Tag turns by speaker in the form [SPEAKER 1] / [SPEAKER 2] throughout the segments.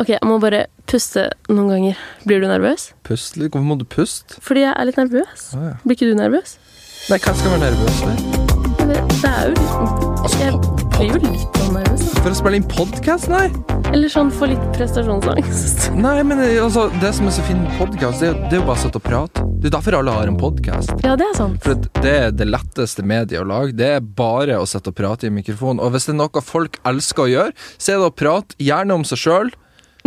[SPEAKER 1] Ok, jeg må bare puste noen ganger. Blir du nervøs?
[SPEAKER 2] Pust litt. Hvorfor må du puste?
[SPEAKER 1] Fordi jeg er litt nervøs.
[SPEAKER 2] Å, ja.
[SPEAKER 1] Blir ikke du nervøs?
[SPEAKER 2] Nei, hva skal jeg være nervøs for?
[SPEAKER 1] Jeg vet- Det er jo litt
[SPEAKER 2] Altså,
[SPEAKER 1] Jeg blir jo litt sånn nervøs. da.
[SPEAKER 2] For å spille inn podkast, nei?
[SPEAKER 1] Eller sånn for litt prestasjonsangst.
[SPEAKER 2] Nei, men eh, altså, det som er så fint med podkast, det, er jo- det er jo bare å sitte og prate. Det er jo derfor alle har en podkast.
[SPEAKER 1] Ja, det er sånn. sant.
[SPEAKER 2] For at det er det letteste mediet å lage. Det er bare å sitte og prate i mikrofonen. Og hvis det er noe folk elsker å gjøre, så er det å prate gjerne om seg sjøl,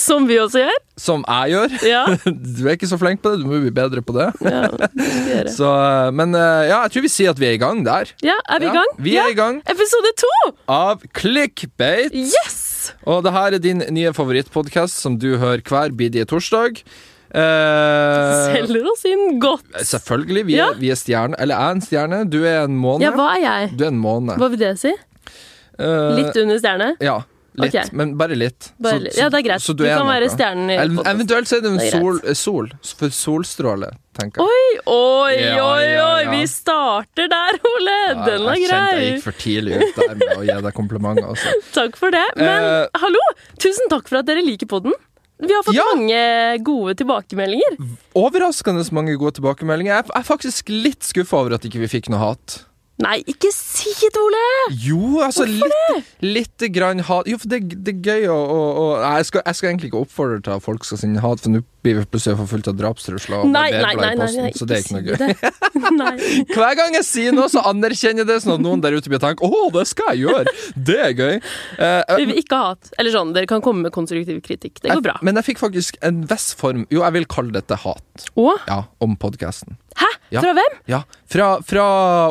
[SPEAKER 1] Som vi også gjør.
[SPEAKER 2] som jeg gjør.
[SPEAKER 1] Ja.
[SPEAKER 2] Du er ikke så flink på det, du må bli bedre på det.
[SPEAKER 1] ja det skal vi gjøre.
[SPEAKER 2] Så, eh, men eh, ja, jeg tror vi sier at vi er i gang der.
[SPEAKER 1] Ja, er vi i gang?
[SPEAKER 2] Ja, vi er i gang
[SPEAKER 1] Ja. Episode to!
[SPEAKER 2] av Clickbait.
[SPEAKER 1] Yes!
[SPEAKER 2] Og det her er din nye favorittpodkast som du hører hver bidige torsdag. Eh,
[SPEAKER 1] Selger oss inn godt.
[SPEAKER 2] selvfølgelig. Vi er,
[SPEAKER 1] Ja.
[SPEAKER 2] vi er stjerne. Eller jeg er en stjerne. Du er en måne.
[SPEAKER 1] Ja, hva er jeg?
[SPEAKER 2] Du er en måne.
[SPEAKER 1] Hva vil det si?
[SPEAKER 2] Eh,
[SPEAKER 1] Litt under stjerne?
[SPEAKER 2] Ja, litt,
[SPEAKER 1] Ok.
[SPEAKER 2] men bare litt.
[SPEAKER 1] Bare litt. Ja, det er greit.
[SPEAKER 2] så
[SPEAKER 1] du, kan
[SPEAKER 2] noe.
[SPEAKER 1] være stjernen i
[SPEAKER 2] Eller,
[SPEAKER 1] podcasten.
[SPEAKER 2] Eventuelt så er det en
[SPEAKER 1] Det er
[SPEAKER 2] sol, sol, for solstråle, tenker jeg.
[SPEAKER 1] Oi, oi,
[SPEAKER 2] Ja,
[SPEAKER 1] oi,
[SPEAKER 2] ja,
[SPEAKER 1] oi!
[SPEAKER 2] ja.
[SPEAKER 1] Vi starter der, Ole! Den var
[SPEAKER 2] jeg kjente jeg
[SPEAKER 1] grei.
[SPEAKER 2] gikk for tidlig ut der med å gi deg komplimenter. Altså.
[SPEAKER 1] Takk for det. Men
[SPEAKER 2] Eh,
[SPEAKER 1] hallo! Tusen takk for at dere liker podden. Vi har fått
[SPEAKER 2] Ja.
[SPEAKER 1] mange gode tilbakemeldinger.
[SPEAKER 2] Overraskende så mange gode tilbakemeldinger. Jeg er- Jeg er faktisk litt skuffa over at ikke vi fikk noe hat.
[SPEAKER 1] Nei, ikke si det, Ole!
[SPEAKER 2] Jo, altså litt, lite grann hat Jo, for det, det er gøy å, å, å Nei, jeg, skal, jeg skal egentlig ikke oppfordre til at folk skal sende hat, for nå blir vi plutselig forfulgt av drapstrusler og
[SPEAKER 1] Nei, nei,
[SPEAKER 2] barberblad
[SPEAKER 1] nei,
[SPEAKER 2] i
[SPEAKER 1] nei,
[SPEAKER 2] posten,
[SPEAKER 1] nei
[SPEAKER 2] så det er ikke noe gøy.
[SPEAKER 1] si det. nei.
[SPEAKER 2] Hver gang jeg sier noe, så anerkjenner jeg det, sånn at noen der ute blir tenkt Å, det skal jeg gjøre! Det er gøy. Eh, eh,
[SPEAKER 1] Vi vil ikke ha hat. Eller sånn, dere kan komme med konstruktiv kritikk. Det går bra.
[SPEAKER 2] jeg- Eh, Men jeg fikk faktisk en viss form Jo, jeg vil kalle dette hat.
[SPEAKER 1] Å?
[SPEAKER 2] Ja, om podkasten.
[SPEAKER 1] Hæ?
[SPEAKER 2] Ja.
[SPEAKER 1] Fra hvem?
[SPEAKER 2] Ja. Fra, fra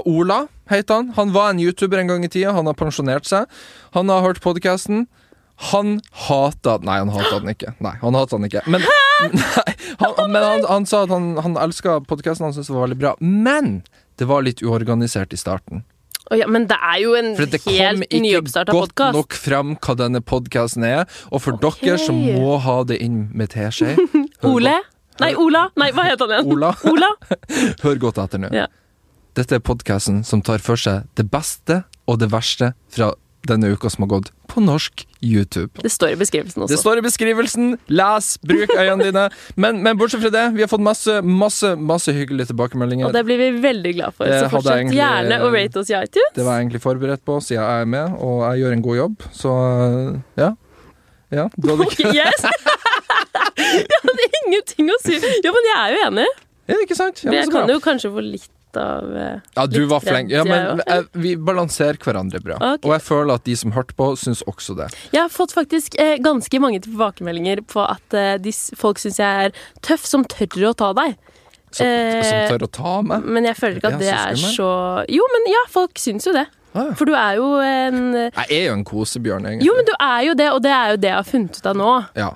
[SPEAKER 2] Ola, heter han. Han var en YouTuber en gang i tida. Han har pensjonert seg. Han har hørt podkasten. Han hata Nei, han hata den ikke. Nei, han hata den ikke. Men, nei, han, men han, han sa at han, han elska podkasten, han syntes det var veldig bra. Men det var litt uorganisert i starten.
[SPEAKER 1] Å ja, men det er jo en
[SPEAKER 2] For det kom
[SPEAKER 1] helt
[SPEAKER 2] ikke
[SPEAKER 1] nyoppstarta
[SPEAKER 2] godt
[SPEAKER 1] podkast.
[SPEAKER 2] nok fram hva denne podkasten er, og for
[SPEAKER 1] Ok.
[SPEAKER 2] dere som må ha det inn med teskje hør
[SPEAKER 1] Ole? Nei, Ola. Nei, hva het han
[SPEAKER 2] godt-
[SPEAKER 1] igjen?
[SPEAKER 2] Ola,
[SPEAKER 1] Ola?
[SPEAKER 2] hør godt etter nå.
[SPEAKER 1] Ja.
[SPEAKER 2] Dette er podkasten som tar for seg det beste og det verste fra denne uka som har gått på norsk YouTube.
[SPEAKER 1] Det står i beskrivelsen
[SPEAKER 2] Det
[SPEAKER 1] også.
[SPEAKER 2] står i beskrivelsen. Les, bruk øynene dine. Men, men bortsett fra det, vi har fått masse, masse, masse hyggelige tilbakemeldinger.
[SPEAKER 1] Og det blir vi veldig glad for.
[SPEAKER 2] Det
[SPEAKER 1] Så
[SPEAKER 2] hadde jeg
[SPEAKER 1] fortsett
[SPEAKER 2] egentlig-
[SPEAKER 1] gjerne å rate oss i iTunes.
[SPEAKER 2] Det var jeg egentlig forberedt på, siden jeg er med, og jeg gjør en god jobb, så ja. Ja, du hadde
[SPEAKER 1] Ok,
[SPEAKER 2] ikke
[SPEAKER 1] yes! jeg hadde ingenting å si. Jo, men jeg er jo enig.
[SPEAKER 2] Ja, ikke sant? Ja,
[SPEAKER 1] Men
[SPEAKER 2] men
[SPEAKER 1] jeg
[SPEAKER 2] så bra.
[SPEAKER 1] kan jo kanskje få litt av eh,
[SPEAKER 2] Ja, du
[SPEAKER 1] litt
[SPEAKER 2] var flink. Ja,
[SPEAKER 1] kred, jeg
[SPEAKER 2] men
[SPEAKER 1] også.
[SPEAKER 2] eh, vi balanserer hverandre bra.
[SPEAKER 1] Ok.
[SPEAKER 2] Og jeg føler at de som hørte på, syns også det.
[SPEAKER 1] Jeg har fått faktisk eh, ganske mange tilbakemeldinger på at eh, de, s- folk syns jeg er tøff som tør å ta deg.
[SPEAKER 2] Som,
[SPEAKER 1] Eh,
[SPEAKER 2] som tør å ta meg.
[SPEAKER 1] Men jeg føler ikke
[SPEAKER 2] Ja,
[SPEAKER 1] at det
[SPEAKER 2] så
[SPEAKER 1] er
[SPEAKER 2] skummel.
[SPEAKER 1] så Jo, men ja, folk syns jo det.
[SPEAKER 2] Ah, ja.
[SPEAKER 1] For du er jo en
[SPEAKER 2] Jeg er jo en kosebjørn, egentlig.
[SPEAKER 1] Jo, men du er jo det, og det er jo det jeg har funnet ut av nå.
[SPEAKER 2] Ja.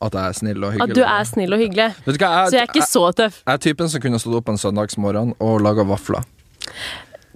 [SPEAKER 2] At jeg er snill og
[SPEAKER 1] At
[SPEAKER 2] hyggelig.
[SPEAKER 1] du er snill og hyggelig.
[SPEAKER 2] Vet du hva,
[SPEAKER 1] Så jeg er ikke
[SPEAKER 2] jeg,
[SPEAKER 1] så tøff.
[SPEAKER 2] jeg er typen som kunne stått opp en søndagsmorgen og laga vafler.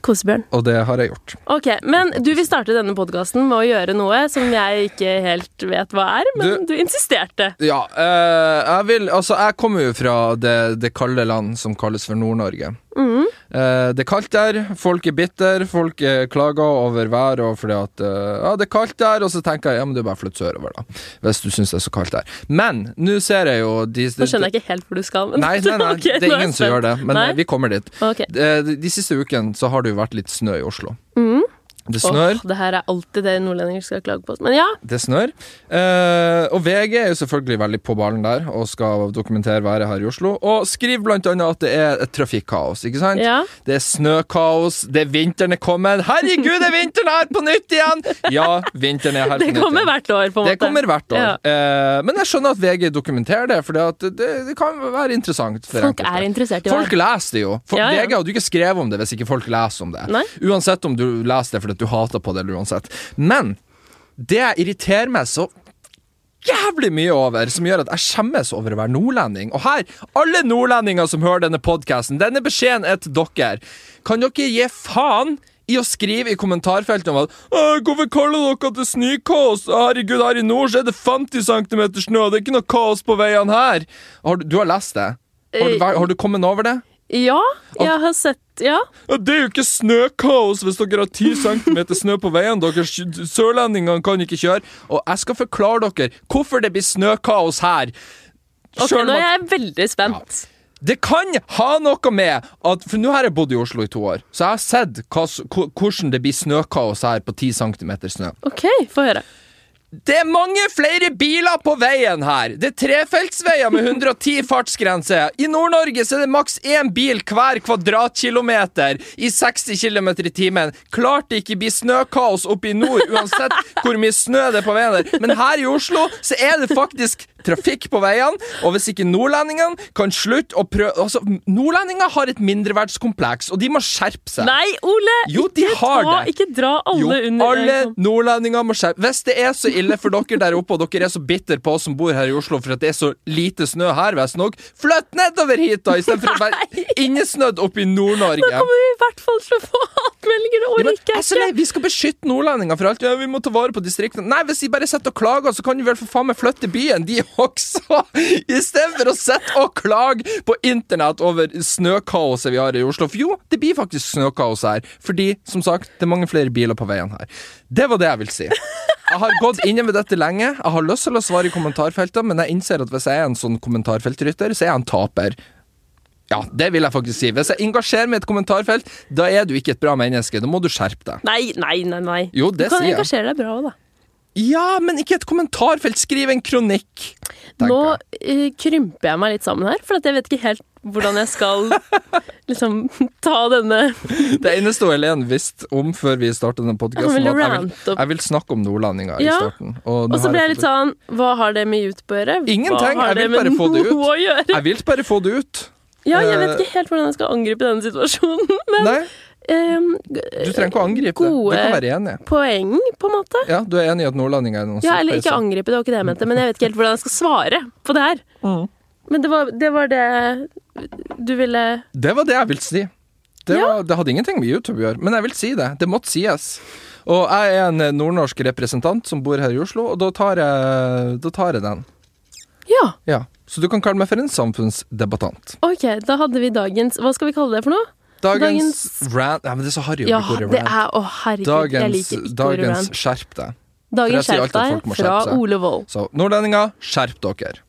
[SPEAKER 1] Kosebjørn.
[SPEAKER 2] Og det har jeg gjort.
[SPEAKER 1] Ok, Men du vil starte denne podkasten med å gjøre noe som jeg ikke helt vet hva er, men du, insisterte.
[SPEAKER 2] Ja, eh, jeg vil Altså, jeg kommer jo fra det, det kalde land som kalles for Nord-Norge.
[SPEAKER 1] Mm.
[SPEAKER 2] Eh, det er kaldt der, folk er bitter, folk eh, klager over været og fordi at eh, Ja, det er kaldt der, og så tenker jeg ja, men det er bare å flytte sørover, da. Hvis du syns det er så kaldt der. Men nå ser jeg jo de,
[SPEAKER 1] Nå skjønner jeg ikke helt hvor du skal. Men
[SPEAKER 2] Nei, nei, nei, det er ingen som gjør det, men
[SPEAKER 1] Nei?
[SPEAKER 2] eh, vi kommer dit.
[SPEAKER 1] Ok.
[SPEAKER 2] Eh, De, de siste ukene så har det jo vært litt snø i Oslo. Det snør.
[SPEAKER 1] mm. Åh, det her er alltid det nordlendinger skal klage på. Men ja,
[SPEAKER 2] Det snør. Eh, og VG er jo selvfølgelig veldig på ballen der og skal dokumentere været her i Oslo. Og skriver blant annet at det er et trafikkaos, ikke sant?
[SPEAKER 1] ja.
[SPEAKER 2] Det er snøkaos, det er vinteren er kommet. Herregud, er vinteren her på nytt igjen?! Ja, vinteren er her
[SPEAKER 1] Det
[SPEAKER 2] på nytt
[SPEAKER 1] kommer
[SPEAKER 2] igjen.
[SPEAKER 1] hvert år, på en måte.
[SPEAKER 2] Det kommer hvert år.
[SPEAKER 1] Ja.
[SPEAKER 2] Eh, men jeg skjønner at VG dokumenterer det, for det, det kan være interessant. For
[SPEAKER 1] Folk
[SPEAKER 2] enkelte.
[SPEAKER 1] er interessert i
[SPEAKER 2] Folk
[SPEAKER 1] hverandre.
[SPEAKER 2] leser det jo. For
[SPEAKER 1] Ja, ja.
[SPEAKER 2] VG hadde jo ikke skrevet om det hvis ikke folk leser om det.
[SPEAKER 1] Nei.
[SPEAKER 2] Uansett om du leser det fordi at du hater på det, eller uansett. Men det jeg irriterer meg så jævlig mye over, som gjør at jeg skjemmes over å være nordlending Og her, alle nordlendinger som hører denne podkasten, denne beskjeden er til dere. Kan dere gi faen? I å skrive i kommentarfeltet om at «Åh, 'Hvorfor kaller dere det snøkaos?' Herregud, her i nord så er det 50 cm
[SPEAKER 1] Eh,
[SPEAKER 2] snø, det er ikke noe kaos på veiene her. Har du, du har lest det? Har du, vært- har du kommet over det?
[SPEAKER 1] Ja, jeg har sett Ja.
[SPEAKER 2] Ja, Det er jo ikke snøkaos hvis dere har 10 cm snø på veien. Dere s- sørlendingene kan ikke kjøre. Og jeg skal forklare dere hvorfor det blir snøkaos her.
[SPEAKER 1] Ok,
[SPEAKER 2] Selv
[SPEAKER 1] nå
[SPEAKER 2] om at-
[SPEAKER 1] er jeg veldig spent.
[SPEAKER 2] det kan ha noe med at For nå har jeg bodd i Oslo i to år, så jeg har sett hva, s- ko- hvordan det blir snøkaos her på 10 cm snø.
[SPEAKER 1] OK, få høre.
[SPEAKER 2] Det er mange flere biler på veien her! Det er trefeltsveier med 110 fartsgrense. I Nord-Norge så er det maks én bil hver kvadratkilometer i 60 km i timen. Klart det ikke blir snøkaos oppe i nord, uansett hvor mye snø det er på veien der. Men her i Oslo så er det faktisk trafikk på veiene, og hvis ikke nordlendingene kan slutte å prøve Altså, nordlendinger har et mindreverdskompleks, og de må skjerpe seg.
[SPEAKER 1] Nei, Ole!
[SPEAKER 2] Jo, de
[SPEAKER 1] ikke,
[SPEAKER 2] har
[SPEAKER 1] dra,
[SPEAKER 2] det.
[SPEAKER 1] ikke dra alle
[SPEAKER 2] Jo,
[SPEAKER 1] under
[SPEAKER 2] alle nordlendinger må skjerpe Hvis det er så ille for dere der oppe, og dere er så bitter på oss som bor her i Oslo for at det er så lite snø her, visstnok, flytt nedover hit, da, istedenfor å være innesnødd oppe i Nord-Norge.
[SPEAKER 1] Kommer vi i hvert fall til å få hatmeldinger og
[SPEAKER 2] Ja, men,
[SPEAKER 1] orker
[SPEAKER 2] altså, jeg er så lei.
[SPEAKER 1] ikke.
[SPEAKER 2] Vi skal beskytte nordlendinger for alt. Ja, vi må ta vare på distriktene. Nei, hvis de bare sitter og klager, så kan vi vel for faen meg flytte byen, de også! Istedenfor å sitte og klage på internett over snøkaoset vi har i Oslo. For jo, det blir faktisk snøkaos her. Fordi, som sagt, det er mange flere biler på veien her. Det var det jeg ville si. Jeg har gått inne ved dette lenge. Jeg har lyst til å svare i kommentarfeltene, men jeg innser at hvis jeg er en sånn kommentarfeltrytter, så er jeg en taper. Ja, det vil jeg faktisk si. Hvis jeg engasjerer meg i et kommentarfelt, da er du ikke et bra menneske. Da må du skjerpe deg.
[SPEAKER 1] Nei, nei, nei. nei.
[SPEAKER 2] Jo, det
[SPEAKER 1] du kan
[SPEAKER 2] sier jeg.
[SPEAKER 1] engasjere deg bra òg, da.
[SPEAKER 2] Ja, men ikke et kommentarfelt. Skriv en kronikk. tenker
[SPEAKER 1] Nå
[SPEAKER 2] jeg.
[SPEAKER 1] eh, krymper jeg meg litt sammen her, for at jeg vet ikke helt hvordan jeg skal liksom ta denne
[SPEAKER 2] Det eneste Helen visste om før vi startet denne
[SPEAKER 1] Han
[SPEAKER 2] podkasten,
[SPEAKER 1] ville
[SPEAKER 2] var at jeg
[SPEAKER 1] rante
[SPEAKER 2] vil,
[SPEAKER 1] opp.
[SPEAKER 2] jeg vil snakke om nordlendinger
[SPEAKER 1] Ja,
[SPEAKER 2] i starten. Og,
[SPEAKER 1] Og
[SPEAKER 2] nå
[SPEAKER 1] så
[SPEAKER 2] har
[SPEAKER 1] ble jeg
[SPEAKER 2] fått
[SPEAKER 1] litt sånn Hva har det med YouTube å gjøre?
[SPEAKER 2] Ingenting,
[SPEAKER 1] Hva har
[SPEAKER 2] jeg
[SPEAKER 1] det
[SPEAKER 2] vil
[SPEAKER 1] med
[SPEAKER 2] bare få det ut.
[SPEAKER 1] noe å gjøre?
[SPEAKER 2] det. Jeg vil bare få det ut.
[SPEAKER 1] Ja, jeg
[SPEAKER 2] Eh,
[SPEAKER 1] vet ikke helt hvordan jeg skal angripe denne situasjonen, men
[SPEAKER 2] Nei,
[SPEAKER 1] ehm,
[SPEAKER 2] du trenger ikke å angripe
[SPEAKER 1] Gode-
[SPEAKER 2] det. Du kan være enig.
[SPEAKER 1] poeng, på en måte.
[SPEAKER 2] Ja, du er enig i at nordlendinger er noen
[SPEAKER 1] Ja, eller ikke
[SPEAKER 2] superser.
[SPEAKER 1] angripe, det var ikke det jeg mente, men jeg vet ikke helt hvordan jeg skal svare på det her.
[SPEAKER 2] Mm.
[SPEAKER 1] Men det var, det var det du ville
[SPEAKER 2] Det var det jeg ville si. Det,
[SPEAKER 1] Ja.
[SPEAKER 2] var, det hadde ingenting med YouTube å gjøre, men jeg vil si det. Det måtte sies. Og jeg er en eh, nordnorsk representant som bor her i Oslo, og da tar jeg, da tar jeg den.
[SPEAKER 1] Ja,
[SPEAKER 2] Ja. Så du kan kalle meg for en samfunnsdebattant.
[SPEAKER 1] OK, da hadde vi dagens Hva skal vi kalle det for noe?
[SPEAKER 2] Dagens, rant Nei, men det er så harry å
[SPEAKER 1] Ja,
[SPEAKER 2] bruke ordet
[SPEAKER 1] det
[SPEAKER 2] rant.
[SPEAKER 1] er Å, herregud, jeg
[SPEAKER 2] Dagens,
[SPEAKER 1] liker ikke ordet
[SPEAKER 2] dagens
[SPEAKER 1] rant.
[SPEAKER 2] skjerp deg.
[SPEAKER 1] Dagens
[SPEAKER 2] for jeg sier
[SPEAKER 1] skjerp
[SPEAKER 2] alltid at folk
[SPEAKER 1] deg
[SPEAKER 2] må
[SPEAKER 1] fra
[SPEAKER 2] skjerpe seg.
[SPEAKER 1] Ole Wold.
[SPEAKER 2] Så nordlendinger, skjerp dere.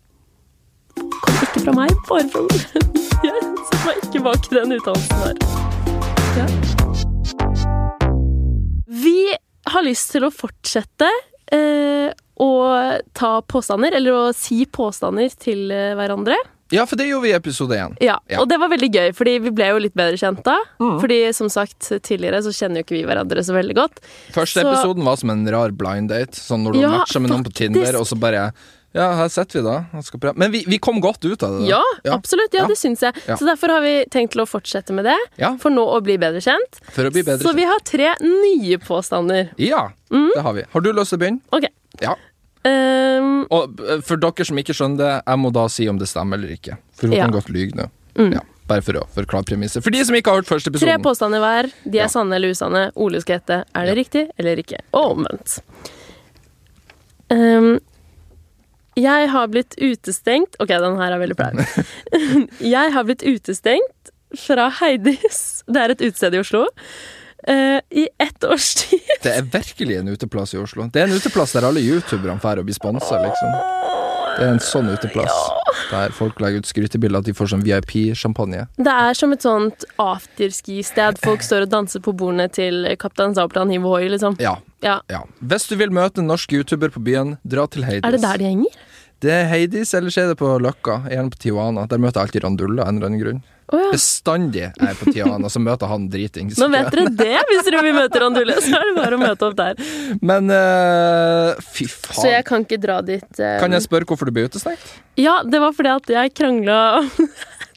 [SPEAKER 1] Ikke fra meg, bare fra Ole. Jeg setter meg ikke bak den uttalelsen der. Ja. Vi har lyst til å fortsette eh, å ta påstander, eller å si påstander til eh, hverandre.
[SPEAKER 2] Ja, for det gjorde vi i episode én.
[SPEAKER 1] Ja,
[SPEAKER 2] Ja. Mm.
[SPEAKER 1] Og det var veldig gøy, fordi vi ble jo litt bedre kjent da. Fordi som sagt tidligere så kjenner jo ikke vi hverandre så veldig godt.
[SPEAKER 2] Første
[SPEAKER 1] Så-
[SPEAKER 2] episoden var som en rar blind date. Sånn når du
[SPEAKER 1] Ja,
[SPEAKER 2] matcher med noen på
[SPEAKER 1] faktisk.
[SPEAKER 2] Tinder, og så bare Ja, her sitter vi da. og skal prate. Men vi, vi kom godt ut av det. da.
[SPEAKER 1] Ja, absolutt. Ja,
[SPEAKER 2] Ja.
[SPEAKER 1] det syns jeg.
[SPEAKER 2] Ja.
[SPEAKER 1] Så derfor har vi tenkt til å fortsette med det.
[SPEAKER 2] Ja.
[SPEAKER 1] For nå å bli bedre kjent.
[SPEAKER 2] For å bli bedre
[SPEAKER 1] så vi Mm. har tre nye påstander.
[SPEAKER 2] kjent. Ja, det har vi. Har du lyst til å begynne?
[SPEAKER 1] Ok.
[SPEAKER 2] Ja.
[SPEAKER 1] Ehm,
[SPEAKER 2] Og eh, for dere som ikke skjønner det, jeg må da si om det stemmer eller ikke. For hun
[SPEAKER 1] Ja. Mm.
[SPEAKER 2] kan godt lyge nå. Ja, bare for å forklare premisset. For de som ikke har hørt første
[SPEAKER 1] tre
[SPEAKER 2] episoden.
[SPEAKER 1] påstander hver. De er
[SPEAKER 2] Ja.
[SPEAKER 1] sanne eller usanne. Ole skal gjette er det riktig eller ikke. Og omvendt. Ehm, jeg har blitt utestengt Ok, den her er veldig flau. jeg har blitt utestengt fra Heidis. Det er et utested i Oslo. eh, I ett års tid.
[SPEAKER 2] Det er virkelig en uteplass i Oslo. Det er en uteplass der alle youtuberne drar og blir sponsa, liksom. Det er en sånn uteplass. Der folk legger ut skrytebilder at de får sånn VIP-sjampanje.
[SPEAKER 1] Det er som et sånt afterski-sted. Folk står og danser på bordene til Kaptein Sabeltann i Voi, liksom.
[SPEAKER 2] Ja,
[SPEAKER 1] Ja.
[SPEAKER 2] ja. Hvis du vil møte en norsk youtuber på byen, dra til Heidis.
[SPEAKER 1] Er det der de henger?
[SPEAKER 2] Det er Heidis, ellers er det på Løkka. Gjerne på Tijuana. Der møter jeg alltid Randulla av en eller annen grunn.
[SPEAKER 1] Å ja.
[SPEAKER 2] Bestandig er jeg på Tijuana, så møter han dritings.
[SPEAKER 1] Nå vet dere det, hvis dere vil møte Randulle. Så er det bare å møte opp der.
[SPEAKER 2] Men eh, fy faen.
[SPEAKER 1] Så jeg kan ikke dra dit. eh,
[SPEAKER 2] Kan jeg spørre hvorfor du ble utestengt?
[SPEAKER 1] Ja, det var fordi at jeg krangla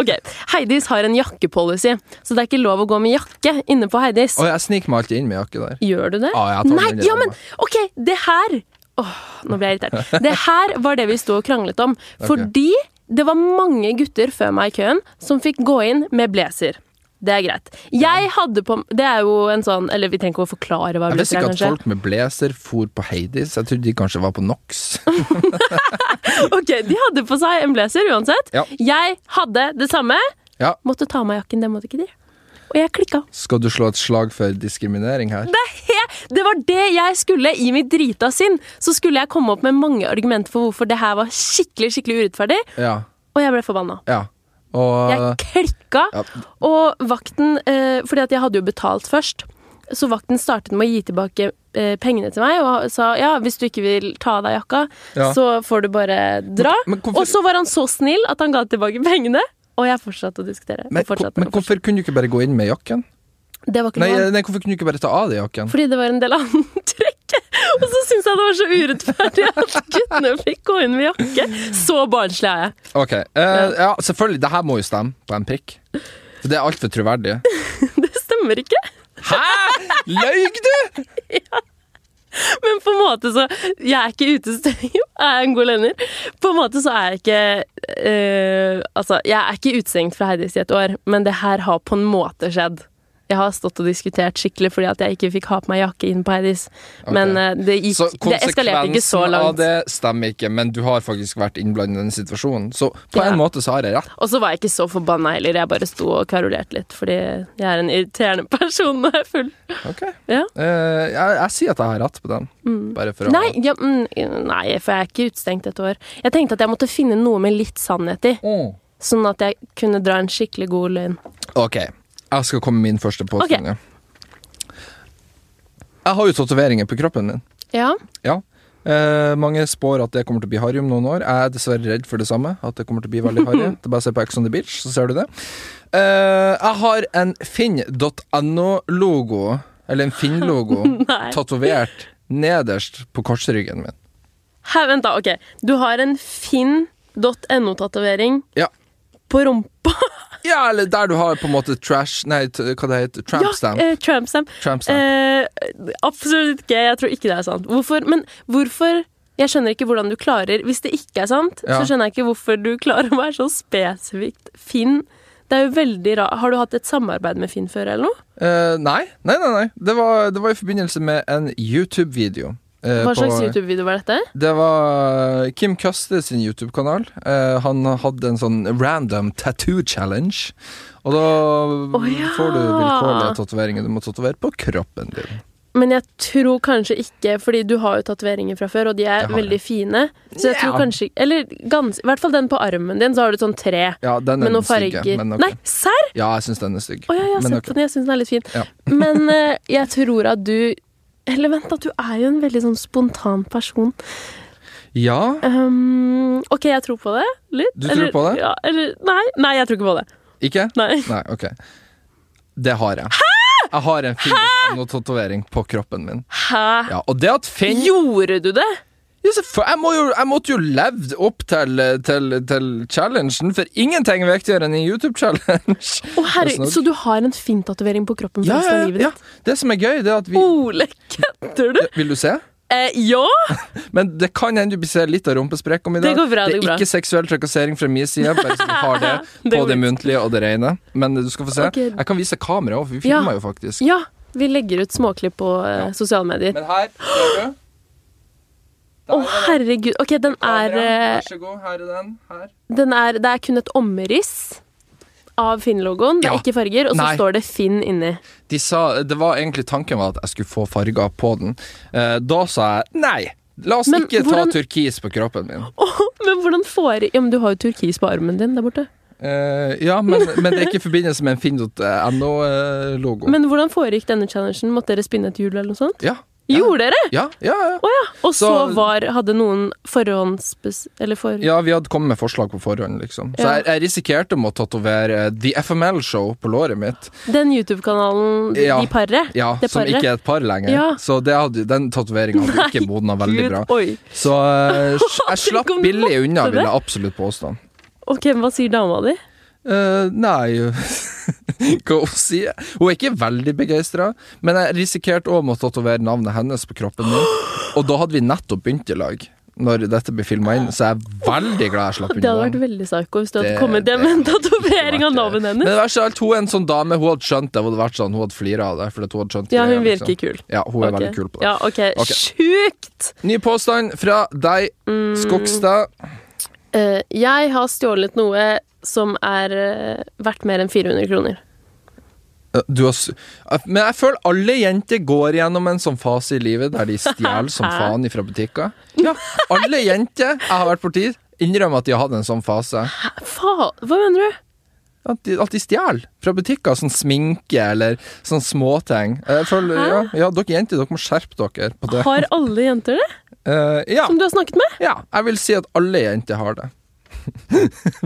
[SPEAKER 1] Ok, Heidis har en jakkepolicy, så det er ikke lov å gå med jakke inne på Heidis.
[SPEAKER 2] Å, jeg sniker meg alltid inn med jakke der.
[SPEAKER 1] Gjør du det?
[SPEAKER 2] Ja, jeg tar den
[SPEAKER 1] Nei,
[SPEAKER 2] inn i
[SPEAKER 1] ja,
[SPEAKER 2] rommet.
[SPEAKER 1] men ok, det her Åh, nå ble jeg irritert. Det her var det vi sto og kranglet om. Fordi det var mange gutter før meg i køen som fikk gå inn med blazer. Det er greit. Jeg hadde på Det er jo en sånn Eller vi trenger ikke å forklare hva
[SPEAKER 2] Jeg
[SPEAKER 1] blazer er,
[SPEAKER 2] visste ikke at
[SPEAKER 1] kanskje.
[SPEAKER 2] folk med blazer for på Heidis. Jeg trodde de kanskje var på NOx.
[SPEAKER 1] Ok, De hadde på seg en blazer uansett.
[SPEAKER 2] Ja.
[SPEAKER 1] Jeg hadde det samme.
[SPEAKER 2] Ja.
[SPEAKER 1] Måtte ta av meg jakken, det måtte ikke de. Og jeg klikka.
[SPEAKER 2] Skal du slå et slag for diskriminering her?
[SPEAKER 1] Det, er he- det var det jeg skulle i mitt drita sinn. Så skulle jeg komme opp med mange argumenter for hvorfor det her var skikkelig skikkelig urettferdig,
[SPEAKER 2] Ja.
[SPEAKER 1] og jeg ble forbanna.
[SPEAKER 2] ja.
[SPEAKER 1] Jeg
[SPEAKER 2] Og eh,
[SPEAKER 1] klikka,
[SPEAKER 2] Ja.
[SPEAKER 1] og vakten eh, Fordi at jeg hadde jo betalt først. Så vakten startet med å gi tilbake eh, pengene til meg og sa ja, hvis du ikke vil ta av deg jakka,
[SPEAKER 2] Ja.
[SPEAKER 1] så får du bare dra.
[SPEAKER 2] Men- men hvorfor-
[SPEAKER 1] Og så var han så snill at han ga tilbake pengene, og jeg fortsatte å diskutere.
[SPEAKER 2] men,
[SPEAKER 1] og fortsatte,
[SPEAKER 2] men
[SPEAKER 1] og
[SPEAKER 2] hvorfor kunne du ikke bare gå inn med jakken?
[SPEAKER 1] fortsatte. Det var ikke
[SPEAKER 2] Nei,
[SPEAKER 1] noe
[SPEAKER 2] nei, hvorfor kunne du ikke bare ta av deg jakken?
[SPEAKER 1] Fordi det var en del antrekk. Og så syntes jeg det var så urettferdig at guttene fikk gå inn med jakke. Så barnslig er jeg.
[SPEAKER 2] Ok, eh, ja, selvfølgelig, det her må jo stemme på en prikk. For det er altfor troverdig.
[SPEAKER 1] Det stemmer ikke.
[SPEAKER 2] Hæ?! Løy du?!
[SPEAKER 1] Men på en måte så Jeg er ikke utestengig. Jo, jeg er en god løgner. På en måte så er jeg ikke eh, Altså, jeg er ikke utestengt fra Heidis i et år, men det her har på en måte skjedd. Jeg har stått og diskutert skikkelig fordi at jeg ikke fikk ha på meg jakke inn på Heidis. Men eh, det,
[SPEAKER 2] Så
[SPEAKER 1] gikk, det eskalerte ikke så
[SPEAKER 2] konsekvensen av
[SPEAKER 1] langt.
[SPEAKER 2] det stemmer ikke, men du har faktisk vært innblandet i denne situasjonen. Så på
[SPEAKER 1] Ja.
[SPEAKER 2] en måte så har jeg rett.
[SPEAKER 1] Og så var jeg ikke så forbanna heller, jeg bare sto og kverulerte litt fordi jeg er en irriterende person når jeg er full.
[SPEAKER 2] Ok.
[SPEAKER 1] Ja.
[SPEAKER 2] Eh, jeg, jeg sier at jeg har rett på den. Bare for å
[SPEAKER 1] Nei, ja, mm, nei, for jeg er ikke utestengt et år. Jeg tenkte at jeg måtte finne noe med litt sannhet i,
[SPEAKER 2] Mm.
[SPEAKER 1] sånn at jeg kunne dra en skikkelig god løgn.
[SPEAKER 2] Ok, jeg skal komme med min første påstand. ja. Jeg har jo tatoveringer på kroppen min.
[SPEAKER 1] Ja,
[SPEAKER 2] Ja. Eh, mange spår at det kommer til å bli harry om noen år. Jeg er dessverre redd for det samme. At det kommer til å bli veldig harry. Det er bare å se på Ex on the Beach, så ser du det. Eh, jeg har en finn.no-logo, eller en Finn-logo,
[SPEAKER 1] Nei.
[SPEAKER 2] tatovert nederst på korsryggen min.
[SPEAKER 1] Hæ, vent da, ok. Du har en finn.no-tatovering
[SPEAKER 2] Ja.
[SPEAKER 1] på rumpa.
[SPEAKER 2] ja, eller der du har på en måte trash Nei, t hva det heter Tramp stamp.
[SPEAKER 1] Ja, eh, tramp stamp.
[SPEAKER 2] Tramp stamp.
[SPEAKER 1] Eh, absolutt ikke, jeg tror ikke det er sant. Hvorfor? Men hvorfor? Jeg skjønner ikke hvordan du klarer Hvis det ikke er sant,
[SPEAKER 2] Ja.
[SPEAKER 1] så skjønner jeg ikke hvorfor du klarer å være så spesifikt Finn. Det er jo veldig rart. Har du hatt et samarbeid med Finn før, eller noe?
[SPEAKER 2] Eh, nei, nei, nei. nei. Det, var, det var i forbindelse med en YouTube-video. eh,
[SPEAKER 1] Hva
[SPEAKER 2] på-
[SPEAKER 1] slags YouTube-video var dette?
[SPEAKER 2] Det var eh, Kim Custer sin YouTube-kanal. Eh, han hadde en sånn random tattoo challenge. Og da
[SPEAKER 1] Å, ja.
[SPEAKER 2] får du vilkårlige tatoveringer du må tatovere på kroppen din.
[SPEAKER 1] Men jeg tror kanskje ikke, fordi du har jo tatoveringer fra før, og de
[SPEAKER 2] Det
[SPEAKER 1] er
[SPEAKER 2] har jeg.
[SPEAKER 1] veldig fine. Så jeg
[SPEAKER 2] Ja.
[SPEAKER 1] tror kanskje Eller gans, i hvert fall den på armen din, så har du sånn tre
[SPEAKER 2] Ja, den
[SPEAKER 1] med
[SPEAKER 2] er
[SPEAKER 1] noen
[SPEAKER 2] den
[SPEAKER 1] farger.
[SPEAKER 2] stygge. Men ok.
[SPEAKER 1] Nei, serr?!
[SPEAKER 2] Ja, jeg syns den er stygg.
[SPEAKER 1] Å ja, jeg har
[SPEAKER 2] men
[SPEAKER 1] sett
[SPEAKER 2] ok.
[SPEAKER 1] den. Jeg syns den er litt fin.
[SPEAKER 2] Ja.
[SPEAKER 1] Men eh, jeg tror at du Eller vent, at du er jo en veldig sånn spontan person.
[SPEAKER 2] Ja,
[SPEAKER 1] Ehm, OK, jeg tror på det. Litt.
[SPEAKER 2] Du tror på det?
[SPEAKER 1] Ja, eller Nei, nei, jeg tror ikke på det.
[SPEAKER 2] ikke?
[SPEAKER 1] Nei.
[SPEAKER 2] Nei, ok. Det har jeg. Jeg har en Finn-tatovering på kroppen min.
[SPEAKER 1] Hæ?
[SPEAKER 2] Ja, og det at Finn
[SPEAKER 1] Gjorde du det?
[SPEAKER 2] Ja, selvfø- jeg, må jo, jeg måtte jo levd opp til, til, til challengen, for ingenting er viktigere enn en YouTube-challenge.
[SPEAKER 1] Å herregud,
[SPEAKER 2] Tusen takk.
[SPEAKER 1] Så du har en Finn-tatovering på kroppen for
[SPEAKER 2] Ja,
[SPEAKER 1] resten
[SPEAKER 2] ja,
[SPEAKER 1] av livet
[SPEAKER 2] ja.
[SPEAKER 1] ditt?
[SPEAKER 2] Det som er gøy, det er at vi
[SPEAKER 1] Ole, kødder du?
[SPEAKER 2] Vil du se?
[SPEAKER 1] Eh, ja!
[SPEAKER 2] Men det kan hende du blir se litt av rumpesprekken min i dag.
[SPEAKER 1] Det går bra, det går bra.
[SPEAKER 2] er ikke seksuell trakassering fra min side, bare så vi har det
[SPEAKER 1] Det
[SPEAKER 2] på
[SPEAKER 1] går
[SPEAKER 2] det
[SPEAKER 1] fint.
[SPEAKER 2] muntlige og det rene. Men du skal få se.
[SPEAKER 1] Ok.
[SPEAKER 2] Jeg kan vise kameraet òg, for vi
[SPEAKER 1] Ja.
[SPEAKER 2] filmer jo faktisk.
[SPEAKER 1] Ja, vi legger ut småklipp på eh, sosiale medier.
[SPEAKER 2] Men her ser du.
[SPEAKER 1] Å, herregud. Ok, den er, eh,
[SPEAKER 2] Vær så god, her er den. Her.
[SPEAKER 1] den er Det er kun et omriss av Finn-logoen. Det er
[SPEAKER 2] Ja.
[SPEAKER 1] ikke farger, og så
[SPEAKER 2] Nei.
[SPEAKER 1] står det Finn inni.
[SPEAKER 2] De sa, det var egentlig tanken var at jeg skulle få farger på den. Eh, da sa jeg nei. La oss
[SPEAKER 1] Men
[SPEAKER 2] ikke
[SPEAKER 1] hvordan-
[SPEAKER 2] ta turkis på kroppen min.
[SPEAKER 1] Åh, men hvordan får Ja, men du har jo turkis på armen din der borte.
[SPEAKER 2] Eh, ja, men, men det er ikke i forbindelse med en finn.no-logo.
[SPEAKER 1] Men hvordan foregikk denne challengen? Måtte dere spinne et hjul eller noe sånt?
[SPEAKER 2] Ja,
[SPEAKER 1] Gjorde dere?
[SPEAKER 2] ja, ja, ja.
[SPEAKER 1] Å ja. Og så,
[SPEAKER 2] Så-
[SPEAKER 1] var Hadde noen forhåndsbes... Eller for...
[SPEAKER 2] Ja, vi hadde kommet med forslag på forhånd, liksom. Så
[SPEAKER 1] Ja.
[SPEAKER 2] jeg, jeg risikerte med å tatovere eh, The FML Show på låret mitt.
[SPEAKER 1] Den YouTube-kanalen
[SPEAKER 2] Ja.
[SPEAKER 1] De paret?
[SPEAKER 2] Ja,
[SPEAKER 1] Det
[SPEAKER 2] Som
[SPEAKER 1] paret.
[SPEAKER 2] ikke er et par lenger.
[SPEAKER 1] Ja.
[SPEAKER 2] Så det hadde, den tatoveringa hadde ikke modna veldig bra.
[SPEAKER 1] Oi.
[SPEAKER 2] Så eh, jeg
[SPEAKER 1] Tenk
[SPEAKER 2] slapp
[SPEAKER 1] om du
[SPEAKER 2] billig unna,
[SPEAKER 1] måtte
[SPEAKER 2] vil
[SPEAKER 1] det.
[SPEAKER 2] jeg absolutt påstå.
[SPEAKER 1] Ok, men hva sier dama di?
[SPEAKER 2] Eh, nei Hva hun sier Hun er ikke veldig begeistra, men jeg risikerte òg med å tatovere navnet hennes på kroppen min. Og da hadde vi nettopp begynt i lag, når dette ble filma inn, så jeg er veldig glad jeg slapp
[SPEAKER 1] Det hadde
[SPEAKER 2] unna.
[SPEAKER 1] vært veldig psycho hvis du hadde
[SPEAKER 2] Det-
[SPEAKER 1] kommet hjem med en tatovering av navnet
[SPEAKER 2] Men
[SPEAKER 1] hennes.
[SPEAKER 2] det verste av alt, hun er en sånn dame, hun hadde skjønt det. Hun hadde vært sånn, hun hadde flira av det. Fordi at hun hadde
[SPEAKER 1] Ja,
[SPEAKER 2] skjønt greia, liksom.
[SPEAKER 1] hun virker kul.
[SPEAKER 2] Ja, hun er
[SPEAKER 1] Ok.
[SPEAKER 2] veldig kul på det.
[SPEAKER 1] Ja, ok.
[SPEAKER 2] Ok.
[SPEAKER 1] Sjukt! Mm.
[SPEAKER 2] Ny påstand fra deg, Skogstad.
[SPEAKER 1] Eh, jeg har stjålet noe som er eh, verdt mer enn 400 kroner.
[SPEAKER 2] Eh, Du har, s- eh, men jeg føler alle jenter går gjennom en sånn fase i livet der de stjeler som faen ifra butikker. Ja, alle jenter jeg har vært borti, innrømmer at de har hatt en sånn fase.
[SPEAKER 1] Hæ? Faen, hva mener du?
[SPEAKER 2] At de, at de stjeler fra butikker. Sånn sminke eller sånn småting. Jeg føler, ja, ja, dere jenter, dere må skjerpe dere på det.
[SPEAKER 1] Har alle jenter det?
[SPEAKER 2] Eh, ja,
[SPEAKER 1] Som du har snakket med?
[SPEAKER 2] ja, jeg vil si at alle jenter har det.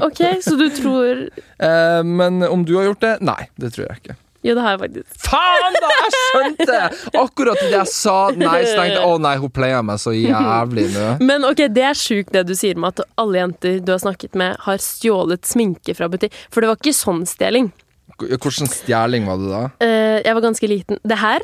[SPEAKER 1] Ok, så du tror
[SPEAKER 2] Eh, men om du har gjort det? Nei, det tror jeg ikke.
[SPEAKER 1] Ja, det har jeg faktisk.
[SPEAKER 2] Faen, da! Jeg skjønte! Akkurat det jeg sa nei, så tenkte jeg å nei, hun pleier meg så jævlig nå.
[SPEAKER 1] Men ok, det er sjukt det du sier med at alle jenter du har snakket med, har stjålet sminke fra butikk. For det var ikke sånn stjeling.
[SPEAKER 2] K- Hvordan stjeling var det da?
[SPEAKER 1] Eh, jeg var ganske liten. Det her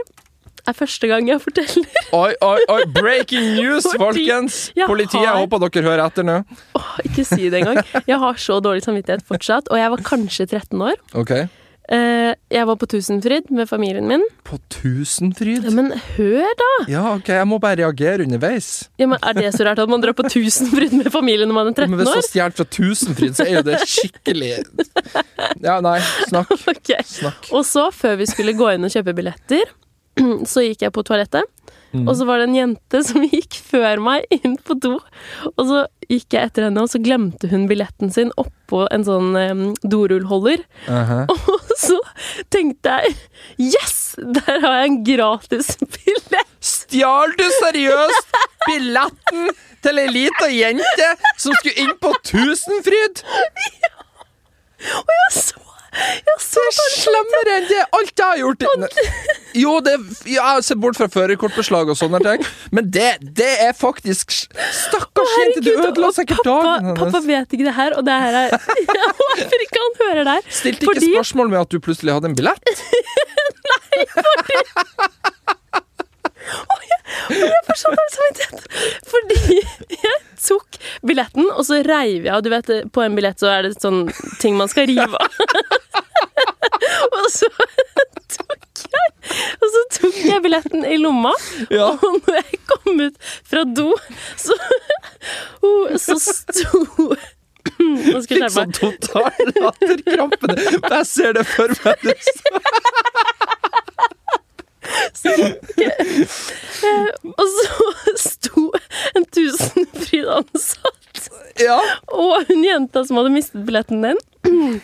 [SPEAKER 1] er første gang jeg forteller.
[SPEAKER 2] Oi, oi, oi! Breaking news,
[SPEAKER 1] Fordi
[SPEAKER 2] folkens!
[SPEAKER 1] jeg
[SPEAKER 2] Politiet, jeg
[SPEAKER 1] har-
[SPEAKER 2] håper dere hører etter nå.
[SPEAKER 1] Åh, ikke si det engang. Jeg har så dårlig samvittighet fortsatt, og jeg var kanskje 13 år.
[SPEAKER 2] Ok.
[SPEAKER 1] Eh, jeg var på Tusenfryd med familien min.
[SPEAKER 2] På
[SPEAKER 1] Ja,
[SPEAKER 2] Tusenfryd?
[SPEAKER 1] men hør, da!
[SPEAKER 2] Ja, ok, jeg må bare reagere underveis.
[SPEAKER 1] Ja, men er det så rart at man drar på Tusenfryd med familien når man er
[SPEAKER 2] Men
[SPEAKER 1] 13
[SPEAKER 2] hvis du
[SPEAKER 1] år?
[SPEAKER 2] har stjålet fra Tusenfryd, så er jo det skikkelig Ja, nei, snakk.
[SPEAKER 1] Ok.
[SPEAKER 2] Snakk.
[SPEAKER 1] Og så, før vi skulle gå inn og kjøpe billetter, så gikk jeg på toalettet. Og så var det en jente som gikk før meg inn på do. Og så gikk jeg etter henne, og så glemte hun billetten sin oppå en sånn eh, dorullholder.
[SPEAKER 2] Aha.
[SPEAKER 1] Og så tenkte jeg Yes! Der har jeg en gratis billett!
[SPEAKER 2] Stjal du seriøst billetten til ei lita jente som skulle inn på Tusenfryd?
[SPEAKER 1] Jeg så, jeg så
[SPEAKER 2] Det er slemmere enn det alt jeg har gjort. Ne- Jo, det, ja, jeg ser bort fra førerkortbeslag og sånne ting, men det, det er faktisk s- Stakkars jente, du
[SPEAKER 1] Herregud,
[SPEAKER 2] ødela
[SPEAKER 1] og
[SPEAKER 2] sikkert dagen
[SPEAKER 1] pappa, pappa
[SPEAKER 2] hennes.
[SPEAKER 1] vet ikke det her, og det her er Jeg håper ikke han hører der.
[SPEAKER 2] Stilte ikke spørsmål med at du plutselig hadde en billett?
[SPEAKER 1] for så dårlig samvittighet. Fordi jeg tok billetten, og så reiv jeg av. Du vet, på en billett så er det sånn ting man skal rive av. og så tok jeg Og så tok jeg billetten i lomma,
[SPEAKER 2] Ja.
[SPEAKER 1] og når jeg kom ut fra do, så Så sto Nå skal jeg skjerpe
[SPEAKER 2] Fikk sånn
[SPEAKER 1] meg.
[SPEAKER 2] total latterkrampe. Jeg ser det for meg.
[SPEAKER 1] Og så sto en Tusenfryd-ansatt
[SPEAKER 2] Ja.
[SPEAKER 1] Og hun jenta som hadde mistet billetten din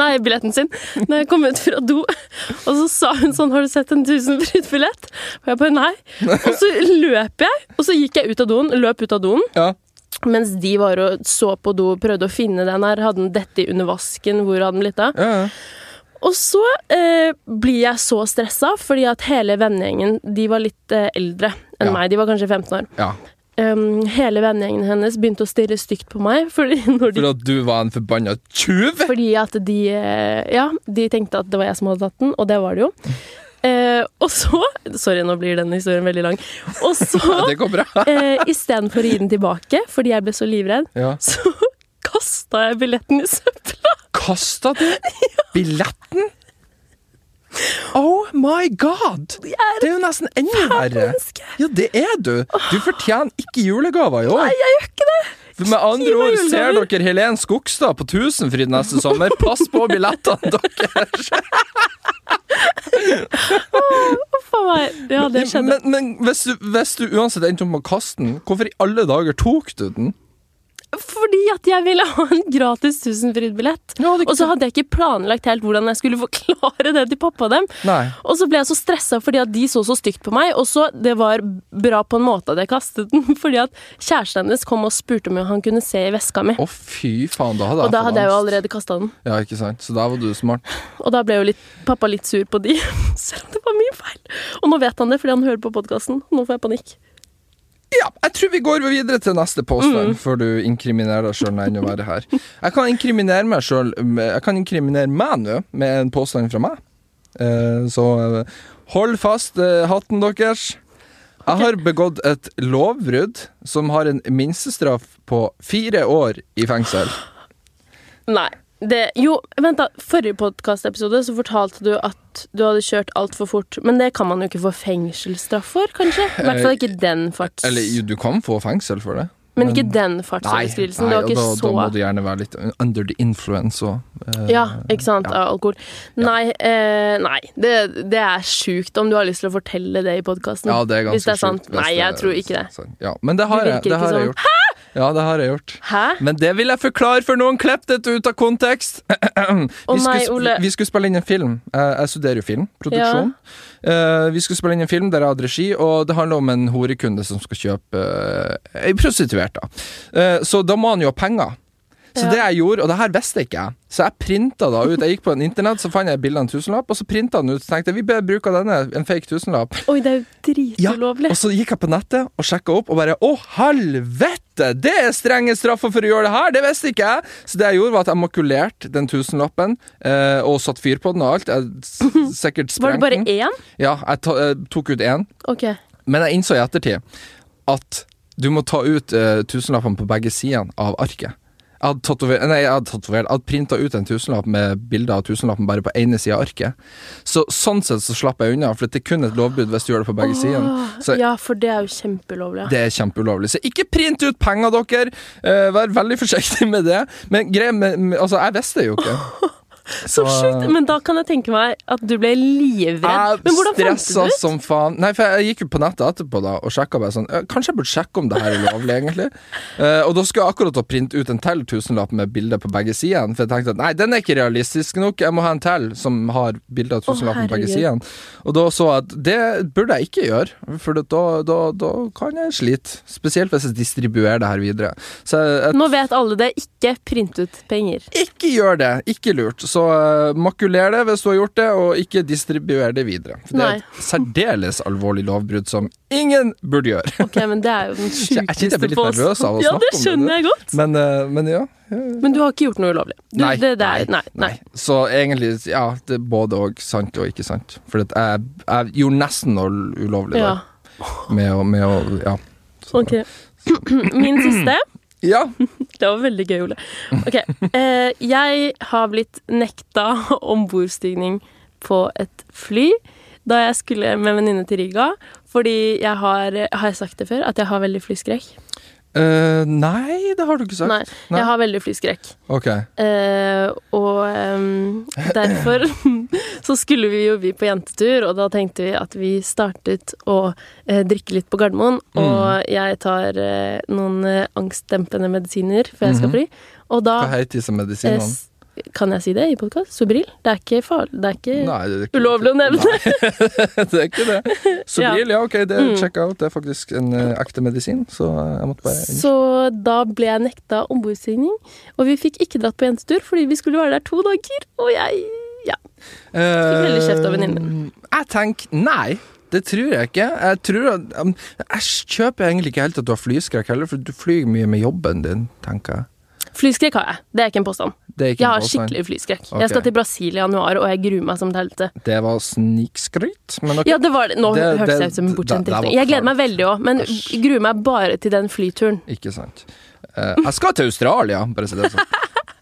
[SPEAKER 1] Nei, billetten sin Når jeg kom ut fra do Og så sa hun sånn, har du sett en tusenfryd-billett? Og jeg bare, nei Og så løp jeg, og så gikk jeg ut av doen Løp ut av doen,
[SPEAKER 2] ja.
[SPEAKER 1] mens de var og så på do Prøvde å finne den her, hadde den dette i under vasken Hvor hadde den blitt av?
[SPEAKER 2] ja.
[SPEAKER 1] Og så eh, blir jeg så stressa Fordi at hele vennegjengen, de var litt eh, eldre enn
[SPEAKER 2] Ja.
[SPEAKER 1] meg, de var kanskje 15 år
[SPEAKER 2] ja.
[SPEAKER 1] um, Hele vennegjengen hennes begynte å stirre stygt på meg Fordi når de
[SPEAKER 2] For at du var en forbanna tjuv?
[SPEAKER 1] Fordi at de eh, Ja, de tenkte at det var jeg som hadde tatt den, og det var det jo. Eh, og så Sorry, nå blir den historien veldig lang. Og så,
[SPEAKER 2] Det går bra.
[SPEAKER 1] eh, istedenfor å gi den tilbake, fordi jeg ble så livredd,
[SPEAKER 2] Ja.
[SPEAKER 1] så kasta jeg billetten i søpla.
[SPEAKER 2] Kasta du billetten? Oh my god!
[SPEAKER 1] er
[SPEAKER 2] Det er jo nesten enda verre.
[SPEAKER 1] menneske.
[SPEAKER 2] Ja, det er du. Du fortjener ikke julegaver i
[SPEAKER 1] Nei,
[SPEAKER 2] år.
[SPEAKER 1] jeg gjør ikke det!
[SPEAKER 2] For med andre
[SPEAKER 1] gi meg
[SPEAKER 2] ord, ser
[SPEAKER 1] julegaver.
[SPEAKER 2] dere Helen Skogstad på Tusenfryd neste sommer? Pass på billettene deres!
[SPEAKER 1] Huff a meg. Ja, det skjedde.
[SPEAKER 2] Men, men hvis, du, hvis du uansett endte opp med å kaste den, hvorfor i alle dager tok du den?
[SPEAKER 1] Fordi at jeg ville ha en gratis Tusenfryd-billett.
[SPEAKER 2] Ja, det-
[SPEAKER 1] Og så hadde jeg ikke planlagt helt hvordan jeg skulle forklare det til pappa og dem.
[SPEAKER 2] Nei.
[SPEAKER 1] Og så ble jeg så stressa fordi at de så så stygt på meg. Og så Det var bra på en måte at jeg kastet den, fordi at kjæresten hennes kom og spurte om han kunne se i veska mi.
[SPEAKER 2] Å, fy faen, da hadde
[SPEAKER 1] Og da
[SPEAKER 2] jeg fått
[SPEAKER 1] hadde jeg jo
[SPEAKER 2] angst.
[SPEAKER 1] allerede kasta den.
[SPEAKER 2] Ja, ikke sant? Så da var du smart.
[SPEAKER 1] Og da ble jo litt, pappa litt sur på de, selv om det var min feil. Og nå vet han det fordi han hører på podkasten. Nå får jeg panikk.
[SPEAKER 2] Ja, jeg tror vi går videre til neste
[SPEAKER 1] Mm.
[SPEAKER 2] påstand før du inkriminerer deg sjøl enda verre her. Jeg kan inkriminere meg sjøl Jeg kan inkriminere meg nå med en påstand fra meg. Eh, så eh, hold fast eh, hatten deres. Jeg har begått et lovbrudd som har en minstestraff på fire år i fengsel.
[SPEAKER 1] Nei. Det, jo, vent da. Forrige podkastepisode så fortalte du at du hadde kjørt altfor fort. Men det kan man
[SPEAKER 2] Eh,
[SPEAKER 1] jo ikke få fengselsstraff for, kanskje? I hvert fall ikke den farts...
[SPEAKER 2] Eller jo, du kan få fengsel for det.
[SPEAKER 1] Men ikke den
[SPEAKER 2] Nei,
[SPEAKER 1] fartsoverskridelsen.
[SPEAKER 2] nei
[SPEAKER 1] Det
[SPEAKER 2] og
[SPEAKER 1] var ikke
[SPEAKER 2] da, da må du
[SPEAKER 1] så
[SPEAKER 2] gjerne være litt under the influence og eh,
[SPEAKER 1] Ja, ikke sant? Av alkohol. Nei, eh, nei. Det, det er sjukt om du har lyst til å fortelle det i podkasten.
[SPEAKER 2] ja, det er ganske
[SPEAKER 1] hvis det er sant.
[SPEAKER 2] sjukt, hvis
[SPEAKER 1] Nei,
[SPEAKER 2] det
[SPEAKER 1] jeg
[SPEAKER 2] er
[SPEAKER 1] tror ikke det.
[SPEAKER 2] sant. Ja, men det har,
[SPEAKER 1] Det
[SPEAKER 2] jeg,
[SPEAKER 1] virker
[SPEAKER 2] det har
[SPEAKER 1] ikke
[SPEAKER 2] jeg
[SPEAKER 1] sånn.
[SPEAKER 2] gjort. Ja, det har jeg gjort.
[SPEAKER 1] Hæ?
[SPEAKER 2] Men det vil jeg forklare for noen klepp dette ut av kontekst! vi,
[SPEAKER 1] nei,
[SPEAKER 2] skulle,
[SPEAKER 1] Ole.
[SPEAKER 2] sp- vi skulle spille inn en film. Eh, Jeg studerer jo film, produksjon. Eh, vi skulle spille inn en film der jeg hadde regi, og det handler om en horekunde som skal kjøpe eh, ei prostituert. da. Eh, så da må han jo ha penger.
[SPEAKER 1] Ja.
[SPEAKER 2] Så det jeg gjorde, og det her visste ikke jeg, så jeg printa da ut. Jeg gikk på en internett, så fant jeg et bilde av en tusenlapp, og så printa den ut. Så tenkte jeg vi bør bruke denne, en fake tusenlapp.
[SPEAKER 1] Oi, det er jo
[SPEAKER 2] Ja,
[SPEAKER 1] dritulovlig.
[SPEAKER 2] og så gikk jeg på nettet og sjekka opp, og bare Å, helvete! Det er strenge straffer for å gjøre det her! Det visste ikke jeg! Så det jeg gjorde, var at jeg makulerte den tusenlappen, eh, og satte fyr på den og alt. Jeg s-
[SPEAKER 1] Var
[SPEAKER 2] sikkert
[SPEAKER 1] det
[SPEAKER 2] sprengte
[SPEAKER 1] bare
[SPEAKER 2] den.
[SPEAKER 1] én?
[SPEAKER 2] Ja, jeg ta, eh, tok ut én.
[SPEAKER 1] Ok.
[SPEAKER 2] Men jeg innså i ettertid at du må ta ut eh, tusenlappene på begge sidene av arket. Jeg hadde, tatover- nei, jeg hadde, tatover- jeg hadde printa ut en tusenlapp med bilde av tusenlappen bare på ene sida av arket. Så Sånn sett så slapp jeg unna, for det er kun et lovbrudd hvis du gjør det på begge sider.
[SPEAKER 1] Åh,
[SPEAKER 2] Så-
[SPEAKER 1] Ja, for det er jo kjempeulovlig. ja.
[SPEAKER 2] Det er kjempeulovlig. Så ikke print ut penger, dere! Eh, vær veldig forsiktig med det. Men greia med, med Altså, jeg visste det jo ikke.
[SPEAKER 1] Så sjukt! Men da kan jeg tenke meg at du ble livredd. Men hvordan
[SPEAKER 2] jeg
[SPEAKER 1] fant du
[SPEAKER 2] stressa
[SPEAKER 1] det ut?
[SPEAKER 2] som faen. Nei, for jeg gikk jo på nettet etterpå da og sjekka bare sånn eh, Kanskje jeg burde sjekke om det her er lovlig, egentlig? Eh, og da skulle jeg akkurat å printe ut en til tusenlapp med bilder på begge sidene. For jeg tenkte at nei, den er ikke realistisk nok, jeg må ha en til som har bilder av tusenlappen på begge
[SPEAKER 1] herregud.
[SPEAKER 2] sidene. Og da så jeg at det burde jeg ikke gjøre, for da, da, da kan jeg slite. Spesielt hvis jeg distribuerer det her videre. Så jeg, jeg
[SPEAKER 1] Nå vet alle det. Ikke print ut penger.
[SPEAKER 2] ikke gjør det. Ikke lurt. Så eh, makuler det hvis du har gjort det, og ikke distribuer det videre. For det er et særdeles alvorlig lovbrudd som ingen burde gjøre.
[SPEAKER 1] Ok, men det er jo den
[SPEAKER 2] Jeg kjente jeg ble
[SPEAKER 1] sjukeste
[SPEAKER 2] litt
[SPEAKER 1] på oss.
[SPEAKER 2] nervøs av å
[SPEAKER 1] Ja, det
[SPEAKER 2] snakke om det, du.
[SPEAKER 1] skjønner jeg godt.
[SPEAKER 2] Men, eh, men ja.
[SPEAKER 1] Men du har ikke gjort noe ulovlig. Du,
[SPEAKER 2] Nei,
[SPEAKER 1] det, det er, nei, nei.
[SPEAKER 2] Så egentlig, ja, det er både og sant og ikke sant. For at jeg, jeg gjorde nesten noe ulovlig
[SPEAKER 1] Ja,
[SPEAKER 2] der. Med å, med å Ja. Så-
[SPEAKER 1] ok. Min siste.
[SPEAKER 2] Ja.
[SPEAKER 1] Det var veldig gøy, Ole. Ok, eh, Jeg har blitt nekta ombordstigning på et fly da jeg skulle med en venninne til Riga. Fordi jeg har Har jeg sagt det før? At jeg har veldig flyskrekk?
[SPEAKER 2] Eh, nei, det har du ikke sagt.
[SPEAKER 1] Nei,
[SPEAKER 2] Nei.
[SPEAKER 1] jeg har veldig flyskrekk.
[SPEAKER 2] Ok.
[SPEAKER 1] Eh, og ehm, derfor så skulle vi jo vi på jentetur, og da tenkte vi at vi startet å eh, drikke litt på Gardermoen.
[SPEAKER 2] Mm.
[SPEAKER 1] Og jeg tar eh, noen eh, angstdempende medisiner før jeg skal fly. Og da
[SPEAKER 2] Mhm. Hva heter disse
[SPEAKER 1] eh,
[SPEAKER 2] medisinene?
[SPEAKER 1] s- Kan jeg si det i podkast? Sobril? Det er ikke farlig. Det er ikke
[SPEAKER 2] Nei, det er ikke-
[SPEAKER 1] ulovlig å nevne.
[SPEAKER 2] det er ikke det.
[SPEAKER 1] Ja. Mm.
[SPEAKER 2] Sobril, ja. ok, det check out. Det er faktisk en eh, ekte medisin, så eh, jeg måtte bare
[SPEAKER 1] Så da ble jeg nekta ombordstigning, og vi fikk ikke dratt på jentetur fordi vi skulle være der to dager, og jeg ja.
[SPEAKER 2] Fikk
[SPEAKER 1] veldig kjeft av venninnen min.
[SPEAKER 2] Eh, Jeg tenker nei. Det tror jeg ikke. Jeg tror at um, Jeg kjøper egentlig ikke helt at du har flyskrekk heller, for du flyr mye med jobben din, tenker jeg.
[SPEAKER 1] Flyskrekk har jeg. Det er ikke en påstand.
[SPEAKER 2] Det er ikke
[SPEAKER 1] Jeg
[SPEAKER 2] en
[SPEAKER 1] har
[SPEAKER 2] påstand.
[SPEAKER 1] skikkelig flyskrekk.
[SPEAKER 2] Ok.
[SPEAKER 1] Jeg skal til Brasil i januar, og jeg gruer meg som et helvete.
[SPEAKER 2] Det var snikskryt, men ok.
[SPEAKER 1] Ja, det var det. Nå
[SPEAKER 2] Det- det-
[SPEAKER 1] hørtes jeg ut som en bortskjemt
[SPEAKER 2] det- det var
[SPEAKER 1] drittsekk. Jeg gleder meg
[SPEAKER 2] kaldt.
[SPEAKER 1] veldig òg, men
[SPEAKER 2] Æsj.
[SPEAKER 1] gruer meg bare til den flyturen.
[SPEAKER 2] Ikke sant. Eh, jeg skal til Australia, bare si det sånn.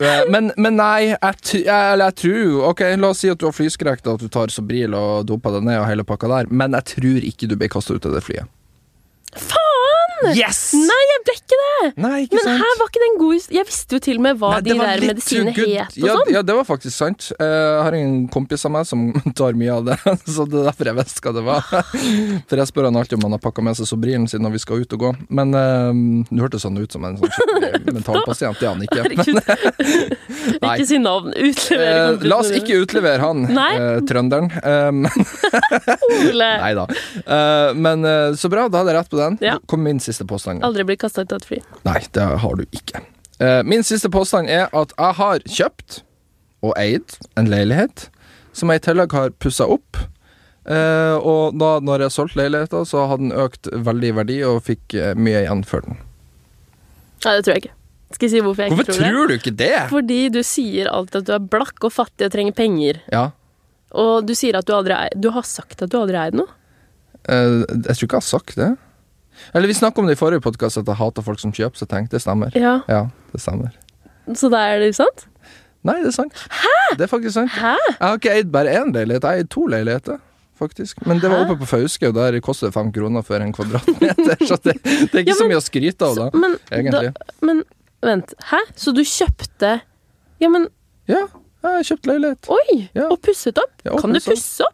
[SPEAKER 2] Eh, Men, men nei, jeg, tr- jeg, eller jeg tror jo Ok, La oss si at du har flyskrekk, da, at du tar Sobril og doper deg ned og hele pakka der, men jeg tror ikke du blir kasta ut av det flyet.
[SPEAKER 1] Faen!
[SPEAKER 2] Yes!
[SPEAKER 1] Nei, jeg ble ikke det!
[SPEAKER 2] Nei, ikke
[SPEAKER 1] Men
[SPEAKER 2] sant?
[SPEAKER 1] her var ikke den gode his- Jeg visste jo til og med hva
[SPEAKER 2] Nei,
[SPEAKER 1] de
[SPEAKER 2] det var
[SPEAKER 1] der
[SPEAKER 2] litt
[SPEAKER 1] medisinene
[SPEAKER 2] too good.
[SPEAKER 1] het og
[SPEAKER 2] ja,
[SPEAKER 1] sånn.
[SPEAKER 2] Ja, det var faktisk sant. Eh, Jeg har en kompis av meg som tar mye av det, så det er derfor jeg visste hva det var. For jeg spør han alltid om han har pakka med seg Sobrilen sin når vi skal ut og gå, men eh, du hørtes sånn ut som en sånn skikkelig mentalpasient, det er han ikke.
[SPEAKER 1] Herregud.
[SPEAKER 2] Nei.
[SPEAKER 1] Ikke si navn. Utlever
[SPEAKER 2] Eh,
[SPEAKER 1] kompisen
[SPEAKER 2] la oss
[SPEAKER 1] din.
[SPEAKER 2] ikke utlevere han,
[SPEAKER 1] Nei.
[SPEAKER 2] eh, trønderen. Um,
[SPEAKER 1] Ole.
[SPEAKER 2] nei da. Eh, men eh, så bra, da hadde jeg rett på den.
[SPEAKER 1] Ja.
[SPEAKER 2] Kom min siste påstand.
[SPEAKER 1] Aldri bli kasta ut av et fly.
[SPEAKER 2] Nei, det har du ikke. Eh, min siste påstand er at jeg har kjøpt og eid en leilighet som jeg i tillegg har pussa opp. Eh, og da når jeg solgte leiligheten, så hadde den økt veldig i verdi og fikk eh, mye igjen for den.
[SPEAKER 1] Nei, det tror jeg ikke. Skal jeg si hvorfor jeg ikke
[SPEAKER 2] Hvorfor
[SPEAKER 1] tror det?
[SPEAKER 2] tror du ikke det?
[SPEAKER 1] Fordi du sier alltid at du er blakk og fattig og trenger penger.
[SPEAKER 2] Ja,
[SPEAKER 1] Og du sier at du aldri er Du har sagt at du aldri eide noe.
[SPEAKER 2] eh, jeg tror ikke jeg har sagt det. Eller vi snakka om det i forrige podkast, at jeg hater folk som kjøper, så jeg tenkte det stemmer.
[SPEAKER 1] Ja.
[SPEAKER 2] Ja, det stemmer.
[SPEAKER 1] Så da er det usant?
[SPEAKER 2] Nei, det er sant. Hæ? Det er faktisk sant.
[SPEAKER 1] Hæ?
[SPEAKER 2] Jeg har ikke eid bare én leilighet, jeg har eid to leiligheter. faktisk. Men det var
[SPEAKER 1] Hæ?
[SPEAKER 2] oppe på Fauske, og der koster det fem kroner for en kvadratmeter. Så det, det er ikke
[SPEAKER 1] Ja,
[SPEAKER 2] så
[SPEAKER 1] men-
[SPEAKER 2] mye å skryte
[SPEAKER 1] Så,
[SPEAKER 2] av, da.
[SPEAKER 1] men,
[SPEAKER 2] Egentlig.
[SPEAKER 1] Da, men vent, hæ? Så du kjøpte Ja, men
[SPEAKER 2] Ja, jeg har kjøpt leilighet.
[SPEAKER 1] oi!
[SPEAKER 2] Ja.
[SPEAKER 1] Og pusset opp?
[SPEAKER 2] Ja, og
[SPEAKER 1] kan du
[SPEAKER 2] pusset opp.
[SPEAKER 1] pusse opp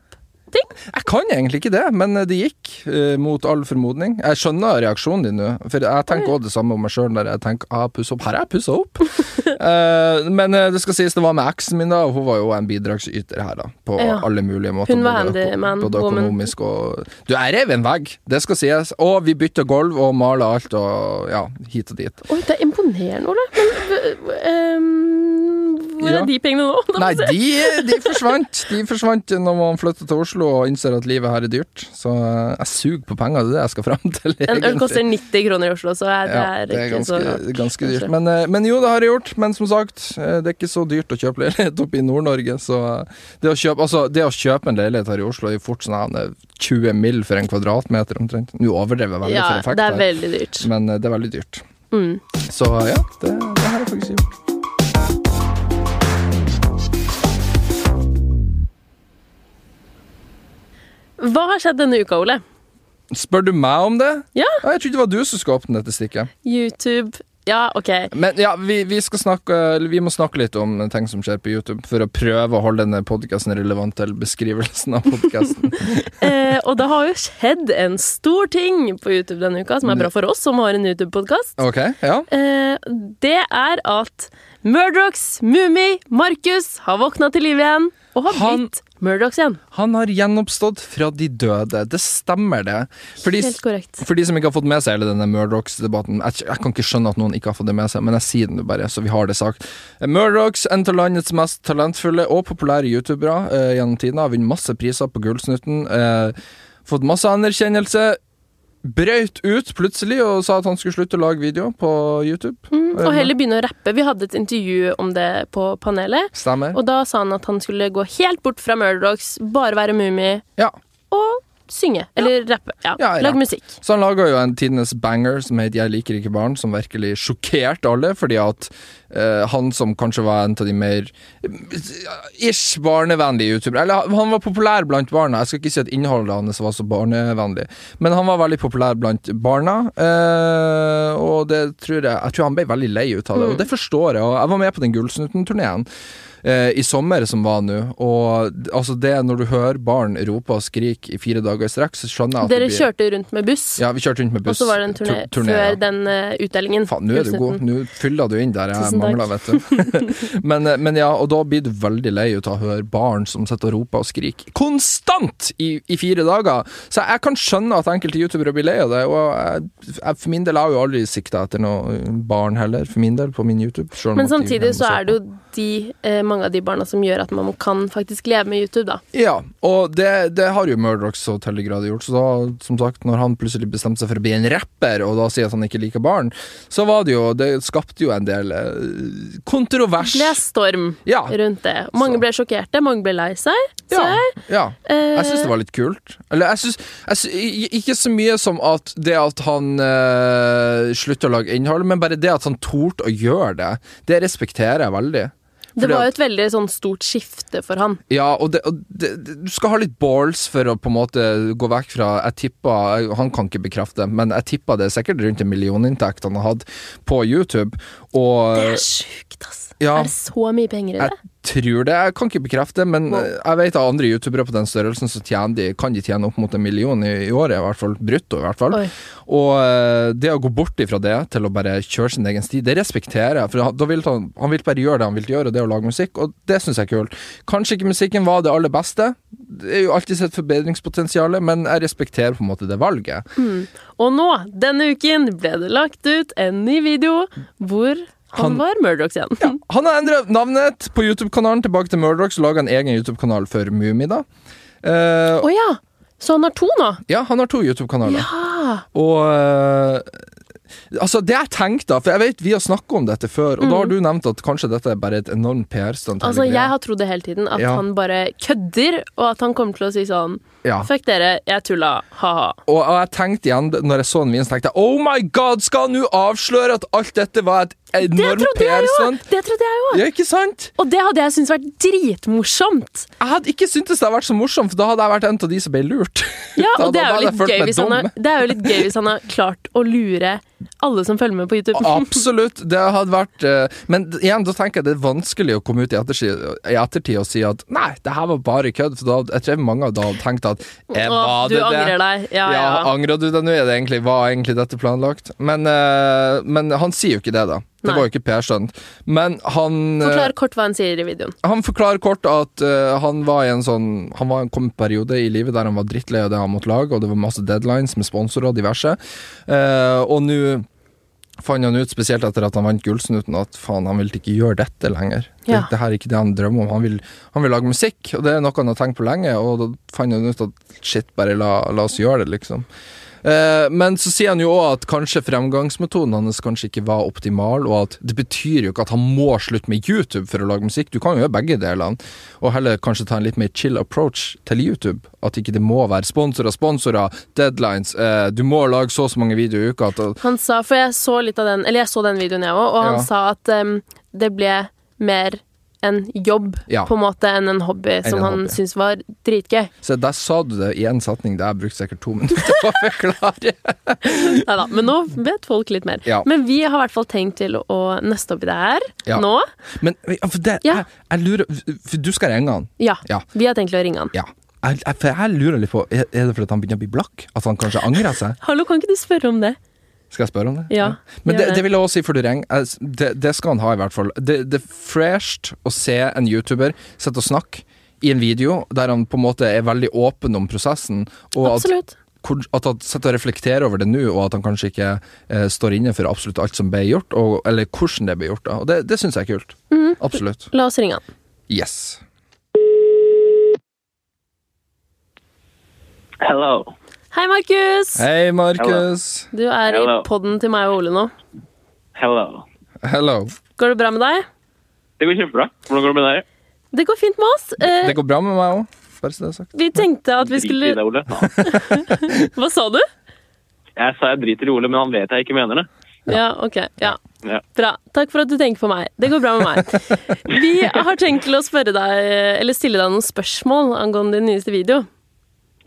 [SPEAKER 1] ting?
[SPEAKER 2] Jeg kan egentlig ikke det, men det gikk, eh, mot all formodning. Jeg skjønner reaksjonen din nå, for jeg tenker òg det samme om meg sjøl når jeg tenker ah, puss opp. Her har jeg pussa opp! Eh, men eh, det skal sies, det var med eksen min, da, og hun var jo en bidragsyter her, da. På
[SPEAKER 1] Ja.
[SPEAKER 2] alle mulige måter.
[SPEAKER 1] Hun var
[SPEAKER 2] både-
[SPEAKER 1] handyman,
[SPEAKER 2] Både
[SPEAKER 1] woman.
[SPEAKER 2] økonomisk og Du, jeg rev en vegg, det skal sies. Og vi bytta gulv og mala alt, og ja, hit og dit.
[SPEAKER 1] Oi, det er imponerende, Ole. Men eh, hvor
[SPEAKER 2] Ja.
[SPEAKER 1] er de pengene nå? Da må
[SPEAKER 2] Nei,
[SPEAKER 1] jeg se.
[SPEAKER 2] de, de forsvant De forsvant når man flytta til Oslo og innser at livet her er dyrt. Så eh, jeg suger på penger, det er det jeg skal fram til.
[SPEAKER 1] En øl
[SPEAKER 2] egentlig.
[SPEAKER 1] koster 90 kroner i Oslo, så er det,
[SPEAKER 2] Ja,
[SPEAKER 1] er
[SPEAKER 2] det er
[SPEAKER 1] ikke
[SPEAKER 2] ganske,
[SPEAKER 1] så
[SPEAKER 2] ganske dyrt.
[SPEAKER 1] kanskje.
[SPEAKER 2] Men, eh, men jo, det har jeg gjort. Men som sagt, eh, det er ikke så dyrt å kjøpe leilighet oppe i Nord-Norge. Så eh, det å, kjøpe, altså, det å kjøpe en leilighet her i Oslo er jo fort sånn eh, 20 mill. for en kvadratmeter omtrent. Nå overdrev jeg veldig
[SPEAKER 1] Ja,
[SPEAKER 2] for effekt,
[SPEAKER 1] det er
[SPEAKER 2] her,
[SPEAKER 1] veldig dyrt.
[SPEAKER 2] men eh, det er veldig dyrt.
[SPEAKER 1] Mm.
[SPEAKER 2] Så ja, det, det har jeg faktisk gjort.
[SPEAKER 1] Hva har skjedd denne uka, Ole?
[SPEAKER 2] Spør du meg om det?
[SPEAKER 1] Ja.
[SPEAKER 2] Jeg trodde det var du som skulle åpne dette stikket.
[SPEAKER 1] YouTube Ja, OK.
[SPEAKER 2] Men ja, vi, vi, skal snakke, eller vi må snakke litt om ting som skjer på YouTube, for å prøve å holde denne podkasten relevant til beskrivelsen av podkasten.
[SPEAKER 1] Eh, og det har jo skjedd en stor ting på YouTube denne uka, som er bra for oss som har en YouTube-podkast.
[SPEAKER 2] Ok, ja.
[SPEAKER 1] Eh, det er at Murdochs Mummi Markus har våkna til liv igjen og har
[SPEAKER 2] Han-
[SPEAKER 1] blitt Murdochs igjen.
[SPEAKER 2] Han har gjenoppstått fra de døde. Det stemmer, det. For de,
[SPEAKER 1] Helt korrect.
[SPEAKER 2] for de som ikke har fått med seg hele denne Murdochs-debatten jeg, jeg kan ikke skjønne at noen ikke har fått det med seg, men jeg sier det nå bare, så vi har det sagt. Murdochs, en av landets mest talentfulle og populære youtubere eh, gjennom tiden, har vunnet masse priser på Gullsnutten. Eh, fått masse anerkjennelse. Brøyt ut plutselig og sa at han skulle slutte å lage video på YouTube.
[SPEAKER 1] Mm, og heller begynne å rappe. Vi hadde et intervju om det på panelet.
[SPEAKER 2] Stemmer.
[SPEAKER 1] Og da sa han at han skulle gå helt bort fra Murdochs, bare være Mummi
[SPEAKER 2] Ja.
[SPEAKER 1] og synge. Eller rappe. Ja,
[SPEAKER 2] Ja, ja.
[SPEAKER 1] Lage musikk.
[SPEAKER 2] Så han laga jo en tidenes banger som het 'Jeg liker ikke barn', som virkelig sjokkerte alle, fordi at eh, han som kanskje var en av de mer eh, ish barnevennlige youtubere Eller han var populær blant barna, jeg skal ikke si at innholdet hans var så barnevennlig, men han var veldig populær blant barna, eh, og det tror jeg Jeg tror han ble veldig lei ut av det, og det forstår jeg, og jeg var med på den Gullsnutten-turneen eh, i sommer som var nå, og d- altså det når du hører barn rope og skrike i fire dager i strekk, så skjønner jeg at
[SPEAKER 1] Dere
[SPEAKER 2] det blir
[SPEAKER 1] kjørte rundt med buss.
[SPEAKER 2] ja, vi kjørte rundt med
[SPEAKER 1] Og
[SPEAKER 2] buss.
[SPEAKER 1] så var det en turné,
[SPEAKER 2] Tur- turné, ja.
[SPEAKER 1] før den eh, utdelingen.
[SPEAKER 2] Faen, nå er du god.
[SPEAKER 1] Gullsnutten.
[SPEAKER 2] Nå fyller du inn der jeg
[SPEAKER 1] Tusen takk.
[SPEAKER 2] mangler, vet du. men, eh, men ja, og da blir du veldig lei ut av å høre barn som sitter og roper og skriker konstant i, i fire dager. Så jeg kan skjønne at enkelte youtubere blir lei av det, og jeg, jeg, for min del har jeg jo aldri sikta etter noe barn heller, for min del, på min YouTube. selv om
[SPEAKER 1] Men
[SPEAKER 2] at de
[SPEAKER 1] samtidig
[SPEAKER 2] gjerne
[SPEAKER 1] så
[SPEAKER 2] må se
[SPEAKER 1] er det jo de, eh, mange av de barna som gjør at man kan faktisk leve med YouTube, da.
[SPEAKER 2] Ja, og det, det har jo Murdoch så til de grader gjort. Så da, som sagt, når han plutselig bestemte seg for å bli en rapper, og da sier at han ikke liker barn, så var det jo Det skapte jo en del eh, kontrovers.
[SPEAKER 1] Det ble storm
[SPEAKER 2] Ja.
[SPEAKER 1] rundt det. Mange
[SPEAKER 2] Så.
[SPEAKER 1] ble sjokkerte, mange ble lei seg.
[SPEAKER 2] Ja,
[SPEAKER 1] Så jeg,
[SPEAKER 2] ja.
[SPEAKER 1] eh,
[SPEAKER 2] Jeg syns det var litt kult. Eller jeg synes, jeg sy- i- Ikke så mye som at det at han uh, slutter å lage innhold, men bare det at han torde å gjøre det, det respekterer jeg veldig.
[SPEAKER 1] det
[SPEAKER 2] fordi
[SPEAKER 1] var
[SPEAKER 2] at-
[SPEAKER 1] jo et veldig sånn stort skifte for han.
[SPEAKER 2] Ja, og, det, og det, det, du skal ha litt balls for å på en måte gå vekk fra Jeg tipper, jeg- Han kan ikke bekrefte, men jeg tipper det er sikkert rundt en millioninntekt han har hatt på YouTube.
[SPEAKER 1] Det
[SPEAKER 2] Og
[SPEAKER 1] er sjukt, ass.
[SPEAKER 2] Eh, ja,
[SPEAKER 1] Er det så mye penger i
[SPEAKER 2] jeg
[SPEAKER 1] det?
[SPEAKER 2] tror det. Jeg kan ikke bekrefte, men
[SPEAKER 1] Wow.
[SPEAKER 2] jeg vet av andre youtubere på den størrelsen så tjener de, kan de tjene opp mot en million i, i året, i hvert fall brutto. i hvert fall.
[SPEAKER 1] Oi.
[SPEAKER 2] Og eh, det å gå bort ifra det til å bare kjøre sin egen sti, det respekterer jeg. For han- da vil han, han vil bare gjøre det han vil gjøre, og det er å lage musikk, og det syns jeg er kult. Kanskje ikke musikken var det aller beste, det er jo alltid et forbedringspotensial, men jeg respekterer på en måte det valget.
[SPEAKER 1] Og nå, denne uken, ble det lagt ut en ny video hvor han,
[SPEAKER 2] Han-
[SPEAKER 1] var Murdoch igjen.
[SPEAKER 2] Han har endra navnet på YouTube-kanalen tilbake til Murdoch, så laga en egen YouTube-kanal for Mummi, da. Eh,
[SPEAKER 1] Å ja! Så han har to nå?
[SPEAKER 2] ja, han har to YouTube-kanaler.
[SPEAKER 1] Ja!
[SPEAKER 2] Og eh, Altså, det jeg tenkte, da, for jeg vet vi har snakka om dette før, og da har du nevnt at kanskje dette er bare et enormt PR-stunt.
[SPEAKER 1] Mm. Altså,
[SPEAKER 2] hele greia.
[SPEAKER 1] jeg har trodd det hele tiden, at
[SPEAKER 2] Ja.
[SPEAKER 1] han bare kødder, og at han kommer til å si sånn
[SPEAKER 2] Ja.
[SPEAKER 1] Fuck dere, jeg tulla, ha-ha.
[SPEAKER 2] Og, og jeg tenkte igjen, når jeg så den videoen, så tenkte jeg Oh my god, skal han nå avsløre at alt dette var et
[SPEAKER 1] Det
[SPEAKER 2] enorm
[SPEAKER 1] trodde jeg jo!
[SPEAKER 2] PR-stunt.
[SPEAKER 1] Det trodde jeg jo.
[SPEAKER 2] Ja, ikke sant?
[SPEAKER 1] Og det hadde jeg syntes vært dritmorsomt.
[SPEAKER 2] Jeg hadde ikke syntes det hadde vært så morsomt, for da hadde jeg vært en av de som ble lurt.
[SPEAKER 1] Ja,
[SPEAKER 2] Da-
[SPEAKER 1] og det
[SPEAKER 2] da-
[SPEAKER 1] er,
[SPEAKER 2] da
[SPEAKER 1] jo
[SPEAKER 2] hadde jeg
[SPEAKER 1] litt
[SPEAKER 2] følt
[SPEAKER 1] gøy
[SPEAKER 2] meg
[SPEAKER 1] hvis han har,
[SPEAKER 2] dum.
[SPEAKER 1] det er jo litt gøy hvis han har klart å lure alle som følger med på YouTube.
[SPEAKER 2] Absolutt. Det hadde vært eh, Men d- igjen, da tenker jeg det er vanskelig å komme ut i ettertid, i ettertid og si at nei, det her var bare kødd. For da, hadde- jeg tror mange av da hadde tenkt at eh,
[SPEAKER 1] Åh,
[SPEAKER 2] var
[SPEAKER 1] du
[SPEAKER 2] det
[SPEAKER 1] angrer
[SPEAKER 2] det?
[SPEAKER 1] deg. Ja,
[SPEAKER 2] Ja,
[SPEAKER 1] ja.
[SPEAKER 2] angrer du deg nå? Er det egentlig, var egentlig dette planlagt? Men, eh, men han sier jo ikke det, da. Det
[SPEAKER 1] Nei.
[SPEAKER 2] var jo ikke Per Stønt. Men han eh,
[SPEAKER 1] Forklar kort hva han sier i videoen.
[SPEAKER 2] Han forklarer kort at eh, han var i en sånn Han var i en kom en periode i livet der han var drittlei av det han måtte lage, og det var masse deadlines med sponsorer og diverse. Eh, og nå fant han ut, spesielt etter at han vant Gullsnuten, at faen, han ville ikke gjøre dette lenger.
[SPEAKER 1] Ja.
[SPEAKER 2] Det, det her er ikke det han drømmer om. Han vil, han vil lage musikk, og det er noe han har tenkt på lenge, og da fant han ut at shit, bare la, la oss gjøre det, liksom. Eh, Men så sier han jo òg at kanskje fremgangsmetoden hans kanskje ikke var optimal, og at det betyr jo ikke at han må slutte med YouTube for å lage musikk. Du kan jo gjøre begge delene, og heller kanskje ta en litt mer chill approach til YouTube. At ikke det må være sponsorer, sponsorer, deadlines, eh, du må lage så og så mange videoer i uka. At,
[SPEAKER 1] Han sa, for jeg så litt av den, eller jeg så den videoen jeg òg, og han
[SPEAKER 2] Ja.
[SPEAKER 1] sa at em, det ble mer en jobb
[SPEAKER 2] Ja.
[SPEAKER 1] på en måte enn en hobby, som
[SPEAKER 2] en
[SPEAKER 1] han
[SPEAKER 2] hobby.
[SPEAKER 1] syntes var dritgøy.
[SPEAKER 2] så der sa du det i en setning der jeg brukte sikkert to minutter på å forklare.
[SPEAKER 1] Neida, men nå vet folk litt mer.
[SPEAKER 2] Ja.
[SPEAKER 1] Men vi har i hvert fall tenkt til å nøste opp i det her
[SPEAKER 2] Ja.
[SPEAKER 1] nå.
[SPEAKER 2] Men ja, for det,
[SPEAKER 1] Ja.
[SPEAKER 2] jeg, jeg lurer For du skal ringe han?
[SPEAKER 1] Ja.
[SPEAKER 2] Ja.
[SPEAKER 1] Vi har tenkt til å ringe han.
[SPEAKER 2] Ja. Jeg, jeg, for jeg lurer litt på Er er det fordi han begynner å bli blakk? At han kanskje angrer seg?
[SPEAKER 1] Hallo, kan ikke du spørre om det?
[SPEAKER 2] Skal jeg spørre om det?
[SPEAKER 1] Ja,
[SPEAKER 2] Men
[SPEAKER 1] gjør
[SPEAKER 2] det,
[SPEAKER 1] det.
[SPEAKER 2] det vil jeg også si for Dureng. Jeg s- Det, det skal han ha, i hvert fall. Det, det er fresht å se en YouTuber sitte og snakke i en video der han på en måte er veldig åpen om prosessen, og at,
[SPEAKER 1] Absolutt.
[SPEAKER 2] hvor- at han sitter og reflekterer over det nå, og at han kanskje ikke eh, står inne for absolutt alt som ble gjort, og, eller hvordan det ble gjort. Da. Og det, det syns jeg er kult.
[SPEAKER 1] Mhm.
[SPEAKER 2] Absolutt.
[SPEAKER 1] La oss ringe han.
[SPEAKER 2] Yes.
[SPEAKER 3] Hello.
[SPEAKER 1] Hei, Markus!
[SPEAKER 2] Hei, Markus.
[SPEAKER 1] Du er
[SPEAKER 3] Hello.
[SPEAKER 1] i podden til meg og Ole nå.
[SPEAKER 3] Hello.
[SPEAKER 2] Hello.
[SPEAKER 1] Går det bra med deg?
[SPEAKER 3] Det går kjempebra. Hvordan går det med deg?
[SPEAKER 1] Det går fint med oss. Eh,
[SPEAKER 2] Det går bra med meg òg, bare så det er sagt.
[SPEAKER 1] vi tenkte at vi skulle
[SPEAKER 3] Driter i deg, Ole.
[SPEAKER 1] Hva sa du?
[SPEAKER 3] Jeg sa jeg driter i Ole, men han vet jeg ikke mener det.
[SPEAKER 1] Ja, OK. Ja.
[SPEAKER 3] Ja.
[SPEAKER 1] Bra. Takk for at du tenker på meg. Det går bra med meg. Vi har tenkt til å spørre deg, eller stille deg noen spørsmål angående din nyeste video.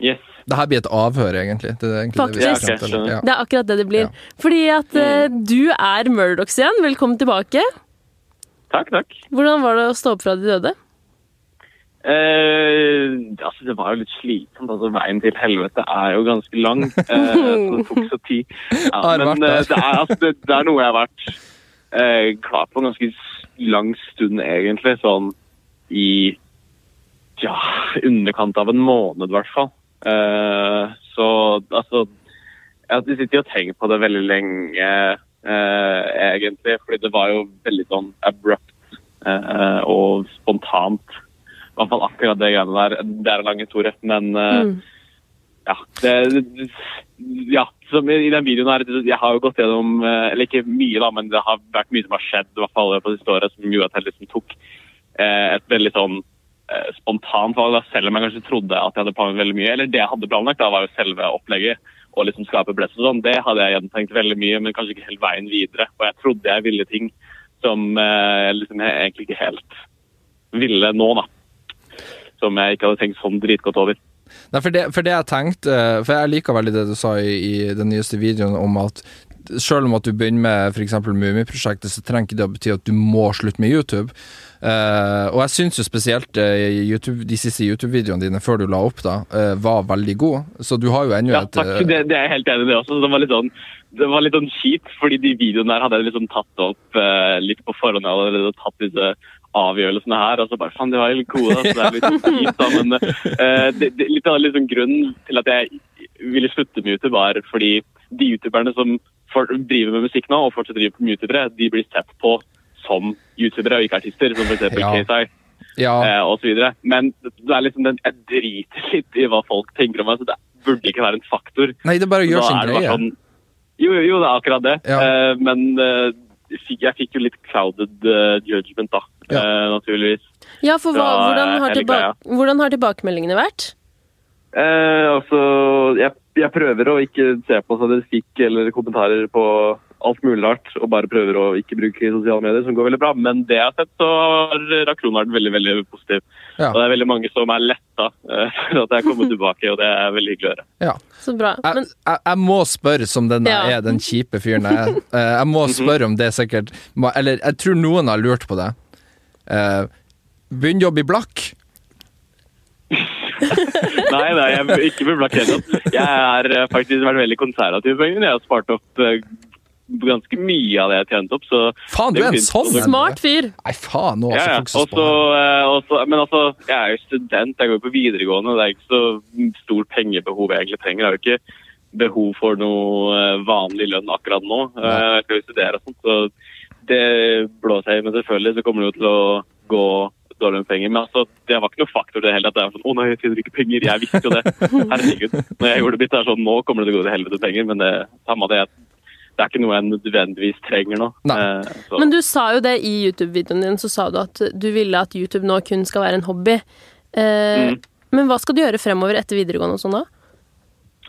[SPEAKER 3] Yes.
[SPEAKER 2] Det her blir et avhør, egentlig. Det er egentlig det vi
[SPEAKER 1] Faktisk.
[SPEAKER 2] skal frem til.
[SPEAKER 3] Ja, Mm. ok, skjønner.
[SPEAKER 1] Det er akkurat det det blir.
[SPEAKER 2] Ja.
[SPEAKER 1] Fordi at eh, du er Murdochs igjen. Velkommen tilbake.
[SPEAKER 3] Takk, takk.
[SPEAKER 1] Hvordan var det å stå opp fra de døde?
[SPEAKER 3] Eh, altså, det var jo litt slitsomt. Altså, veien til helvete er jo ganske lang. Eh, så det tok så tid. Ja,
[SPEAKER 2] Har vært
[SPEAKER 3] men
[SPEAKER 2] der.
[SPEAKER 3] eh, det, er, altså, det, det er noe jeg har vært eh, klar på en ganske s- lang stund, egentlig. Sånn i ja, underkant av en måned, i hvert fall. Eh, så altså Jeg sitter jo og tenker på det veldig lenge, eh, egentlig. Fordi det var jo veldig sånn abrupt eh, og spontant. I hvert fall akkurat det greiene der. Det er en lang historie, men eh,
[SPEAKER 1] Mm.
[SPEAKER 3] ja, det, det- ja, som i i den videoen her, det- jeg har jo gått gjennom, eh, eller ikke mye da, men det har vært mye som har skjedd, i hvert fall på det siste året, som gjorde at jeg liksom tok eh, et veldig sånn eh, spontant valg, da, selv om jeg kanskje trodde at jeg hadde planlagt veldig mye, eller det jeg hadde planlagt da, var jo selve opplegget, og liksom skape blest og sånn, det hadde jeg gjentenkt veldig mye, men kanskje ikke helt veien videre, og jeg trodde jeg ville ting som eh, liksom jeg egentlig ikke helt ville nå da, som jeg ikke hadde tenkt sånn dritgodt over.
[SPEAKER 2] Nei, for det, for det jeg tenkte eh, For jeg liker veldig det du sa i, i den nyeste videoen om at selv om at du begynner med f.eks. Mummiprosjektet, så trenger ikke det å bety at du må slutte med YouTube. Eh, og jeg syns jo spesielt eh, YouTube, de siste YouTube-videoene dine før du la opp, da, eh, var veldig gode. Så du har jo ennå
[SPEAKER 3] Ja,
[SPEAKER 2] et
[SPEAKER 3] takk.
[SPEAKER 2] eh,
[SPEAKER 3] Det, det er jeg helt enig i, det også. Det var litt sånn, det var litt sånn kjipt, fordi de videoene der hadde jeg liksom tatt opp eh, litt på forhånd. Jeg hadde allerede tatt disse avgjørelsene her, og så bare faen, de var jo litt gode. Så det er litt sånn kjipt, da. Men eh, det, det, litt av liksom grunnen til at jeg ville slutte med YouTube, var fordi de youtuberne som for, driver med musikk nå, og fortsatt driver med youtubere, de blir sett på som youtubere og ikke artister, som f.eks.
[SPEAKER 2] Ja.
[SPEAKER 3] Ja. KSI
[SPEAKER 2] Ja,
[SPEAKER 3] eh, og så videre. Men det er liksom den, jeg driter litt i hva folk tenker om meg, så det burde ikke være en faktor.
[SPEAKER 2] nei, det er bare å gjøre
[SPEAKER 3] Da
[SPEAKER 2] sin
[SPEAKER 3] er det
[SPEAKER 2] greie.
[SPEAKER 3] bare sånn- Jo, jo, jo, det er akkurat det.
[SPEAKER 2] Ja.
[SPEAKER 3] Eh, men eh, jeg fikk- jeg fikk jo litt crowded eh, judgment, da.
[SPEAKER 2] Ja.
[SPEAKER 3] Eh, naturligvis.
[SPEAKER 1] Ja, for hva,
[SPEAKER 3] Fra,
[SPEAKER 1] hvordan, har
[SPEAKER 3] eh, hele
[SPEAKER 1] tilba
[SPEAKER 3] greia.
[SPEAKER 1] hvordan har tilbakemeldingene vært?
[SPEAKER 3] Eh, altså, jeg, jeg prøver å ikke se på statistikk eller kommentarer på alt mulig rart og bare prøver å ikke bruke sosiale medier, som går veldig bra. Men det jeg har sett, så har eh, Rakron vært veldig veldig positiv.
[SPEAKER 2] Ja.
[SPEAKER 3] Og det er veldig mange som er letta eh, for at jeg kommer tilbake, og det er veldig hyggelig å høre.
[SPEAKER 2] Ja.
[SPEAKER 1] Så bra.
[SPEAKER 3] Eh,
[SPEAKER 2] Jeg,
[SPEAKER 1] Men
[SPEAKER 2] jeg, jeg må spørre som den jeg
[SPEAKER 1] Ja.
[SPEAKER 2] er, den kjipe fyren jeg er. Eh, Jeg må
[SPEAKER 3] Mhm.
[SPEAKER 2] spørre om det sikkert må- Eller jeg tror noen har lurt på det. Eh, Begynn jobb i Blakk.
[SPEAKER 3] Nei, nei, jeg er ikke beblakk heller. Jeg har eh, faktisk vært veldig konservativ på pengene. Jeg har spart opp eh, ganske mye av det jeg har tjent opp, så
[SPEAKER 2] Faen, du
[SPEAKER 3] Det
[SPEAKER 2] er
[SPEAKER 3] er
[SPEAKER 2] en
[SPEAKER 3] fint.
[SPEAKER 2] sånn en, du.
[SPEAKER 1] smart fyr.
[SPEAKER 2] Nei, faen nå,
[SPEAKER 3] Ja, ja.
[SPEAKER 2] altså, fokus på
[SPEAKER 3] Og
[SPEAKER 2] det.
[SPEAKER 3] så, eh, og så- men altså, jeg er jo student, jeg går på videregående. og Det er ikke så stort pengebehov jeg egentlig trenger. Jeg har jo ikke behov for noe eh, vanlig lønn akkurat nå. Eh, Jeg skal jo studere og sånt, så det blåser jeg i. Men selvfølgelig så kommer det jo til å gå dårlig med penger. Men altså, det var ikke noe faktor det heller. At det var sånn, å nei, jeg tjener ikke penger. Jeg visste jo det. Herregud. Når jeg gjorde det mitt, er det sånn, nå kommer det til å gå til helvete penger. Men det, samme det, det er ikke noe jeg nødvendigvis trenger nå.
[SPEAKER 2] Nei.
[SPEAKER 3] Eh, så-
[SPEAKER 1] Men du sa jo det i YouTube-videoen din, så sa du at du ville at YouTube nå kun skal være en hobby. Eh,
[SPEAKER 3] Mm.
[SPEAKER 1] Men hva skal du gjøre fremover etter videregående og sånn, da?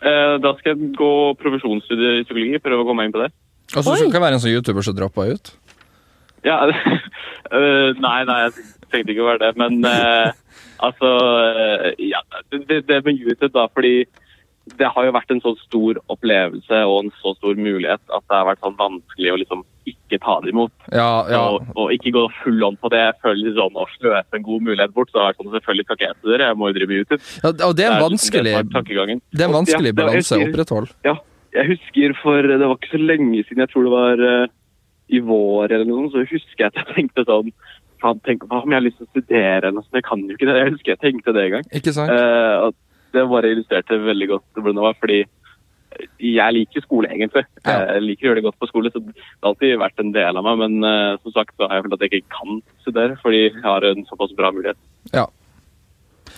[SPEAKER 3] Eh, Da skal jeg gå profesjonsstudier i psykologi, prøve å komme meg inn på det.
[SPEAKER 2] Og så
[SPEAKER 1] Oi.
[SPEAKER 2] skal du være en sånn YouTuber som dropper ut.
[SPEAKER 3] Ja, eh, nei, nei, jeg tenkte ikke å være det, men eh, altså eh, ja, det, det med YouTube, da, fordi det har jo vært en så stor opplevelse og en så stor mulighet at det har vært sånn vanskelig å liksom ikke ta det imot.
[SPEAKER 2] Ja, ja.
[SPEAKER 3] Og, og ikke gå full on på det. Jeg føler litt sånn å sløse en god mulighet bort. Så har jeg sånn, selvfølgelig skal ikke jeg studere, jeg må jo drive med YouTube.
[SPEAKER 2] ja og det er en vanskelig,
[SPEAKER 3] Det er tankegangen.
[SPEAKER 2] det er en vanskelig
[SPEAKER 3] Ja, det var- jeg
[SPEAKER 2] balanse å
[SPEAKER 3] sier-
[SPEAKER 2] opprettholde.
[SPEAKER 3] Ja, jeg husker for Det var ikke så lenge siden, jeg tror det var eh, i vår eller noe, sånt, så husker jeg at jeg tenkte sånn Faen, tenk hva om jeg har lyst til å studere eller noe sånt? Jeg kan jo ikke det. Jeg husker jeg tenkte det en gang.
[SPEAKER 2] Ikke sant?
[SPEAKER 3] Eh, og det bare illustrerte veldig godt hvordan det var, fordi jeg liker skole, egentlig. Eh,
[SPEAKER 2] Ja.
[SPEAKER 3] Jeg liker å gjøre det godt på skole, så det har alltid vært en del av meg. Men eh, som sagt så har jeg følt at jeg ikke kan studere, fordi jeg har en såpass bra mulighet.
[SPEAKER 2] Ja.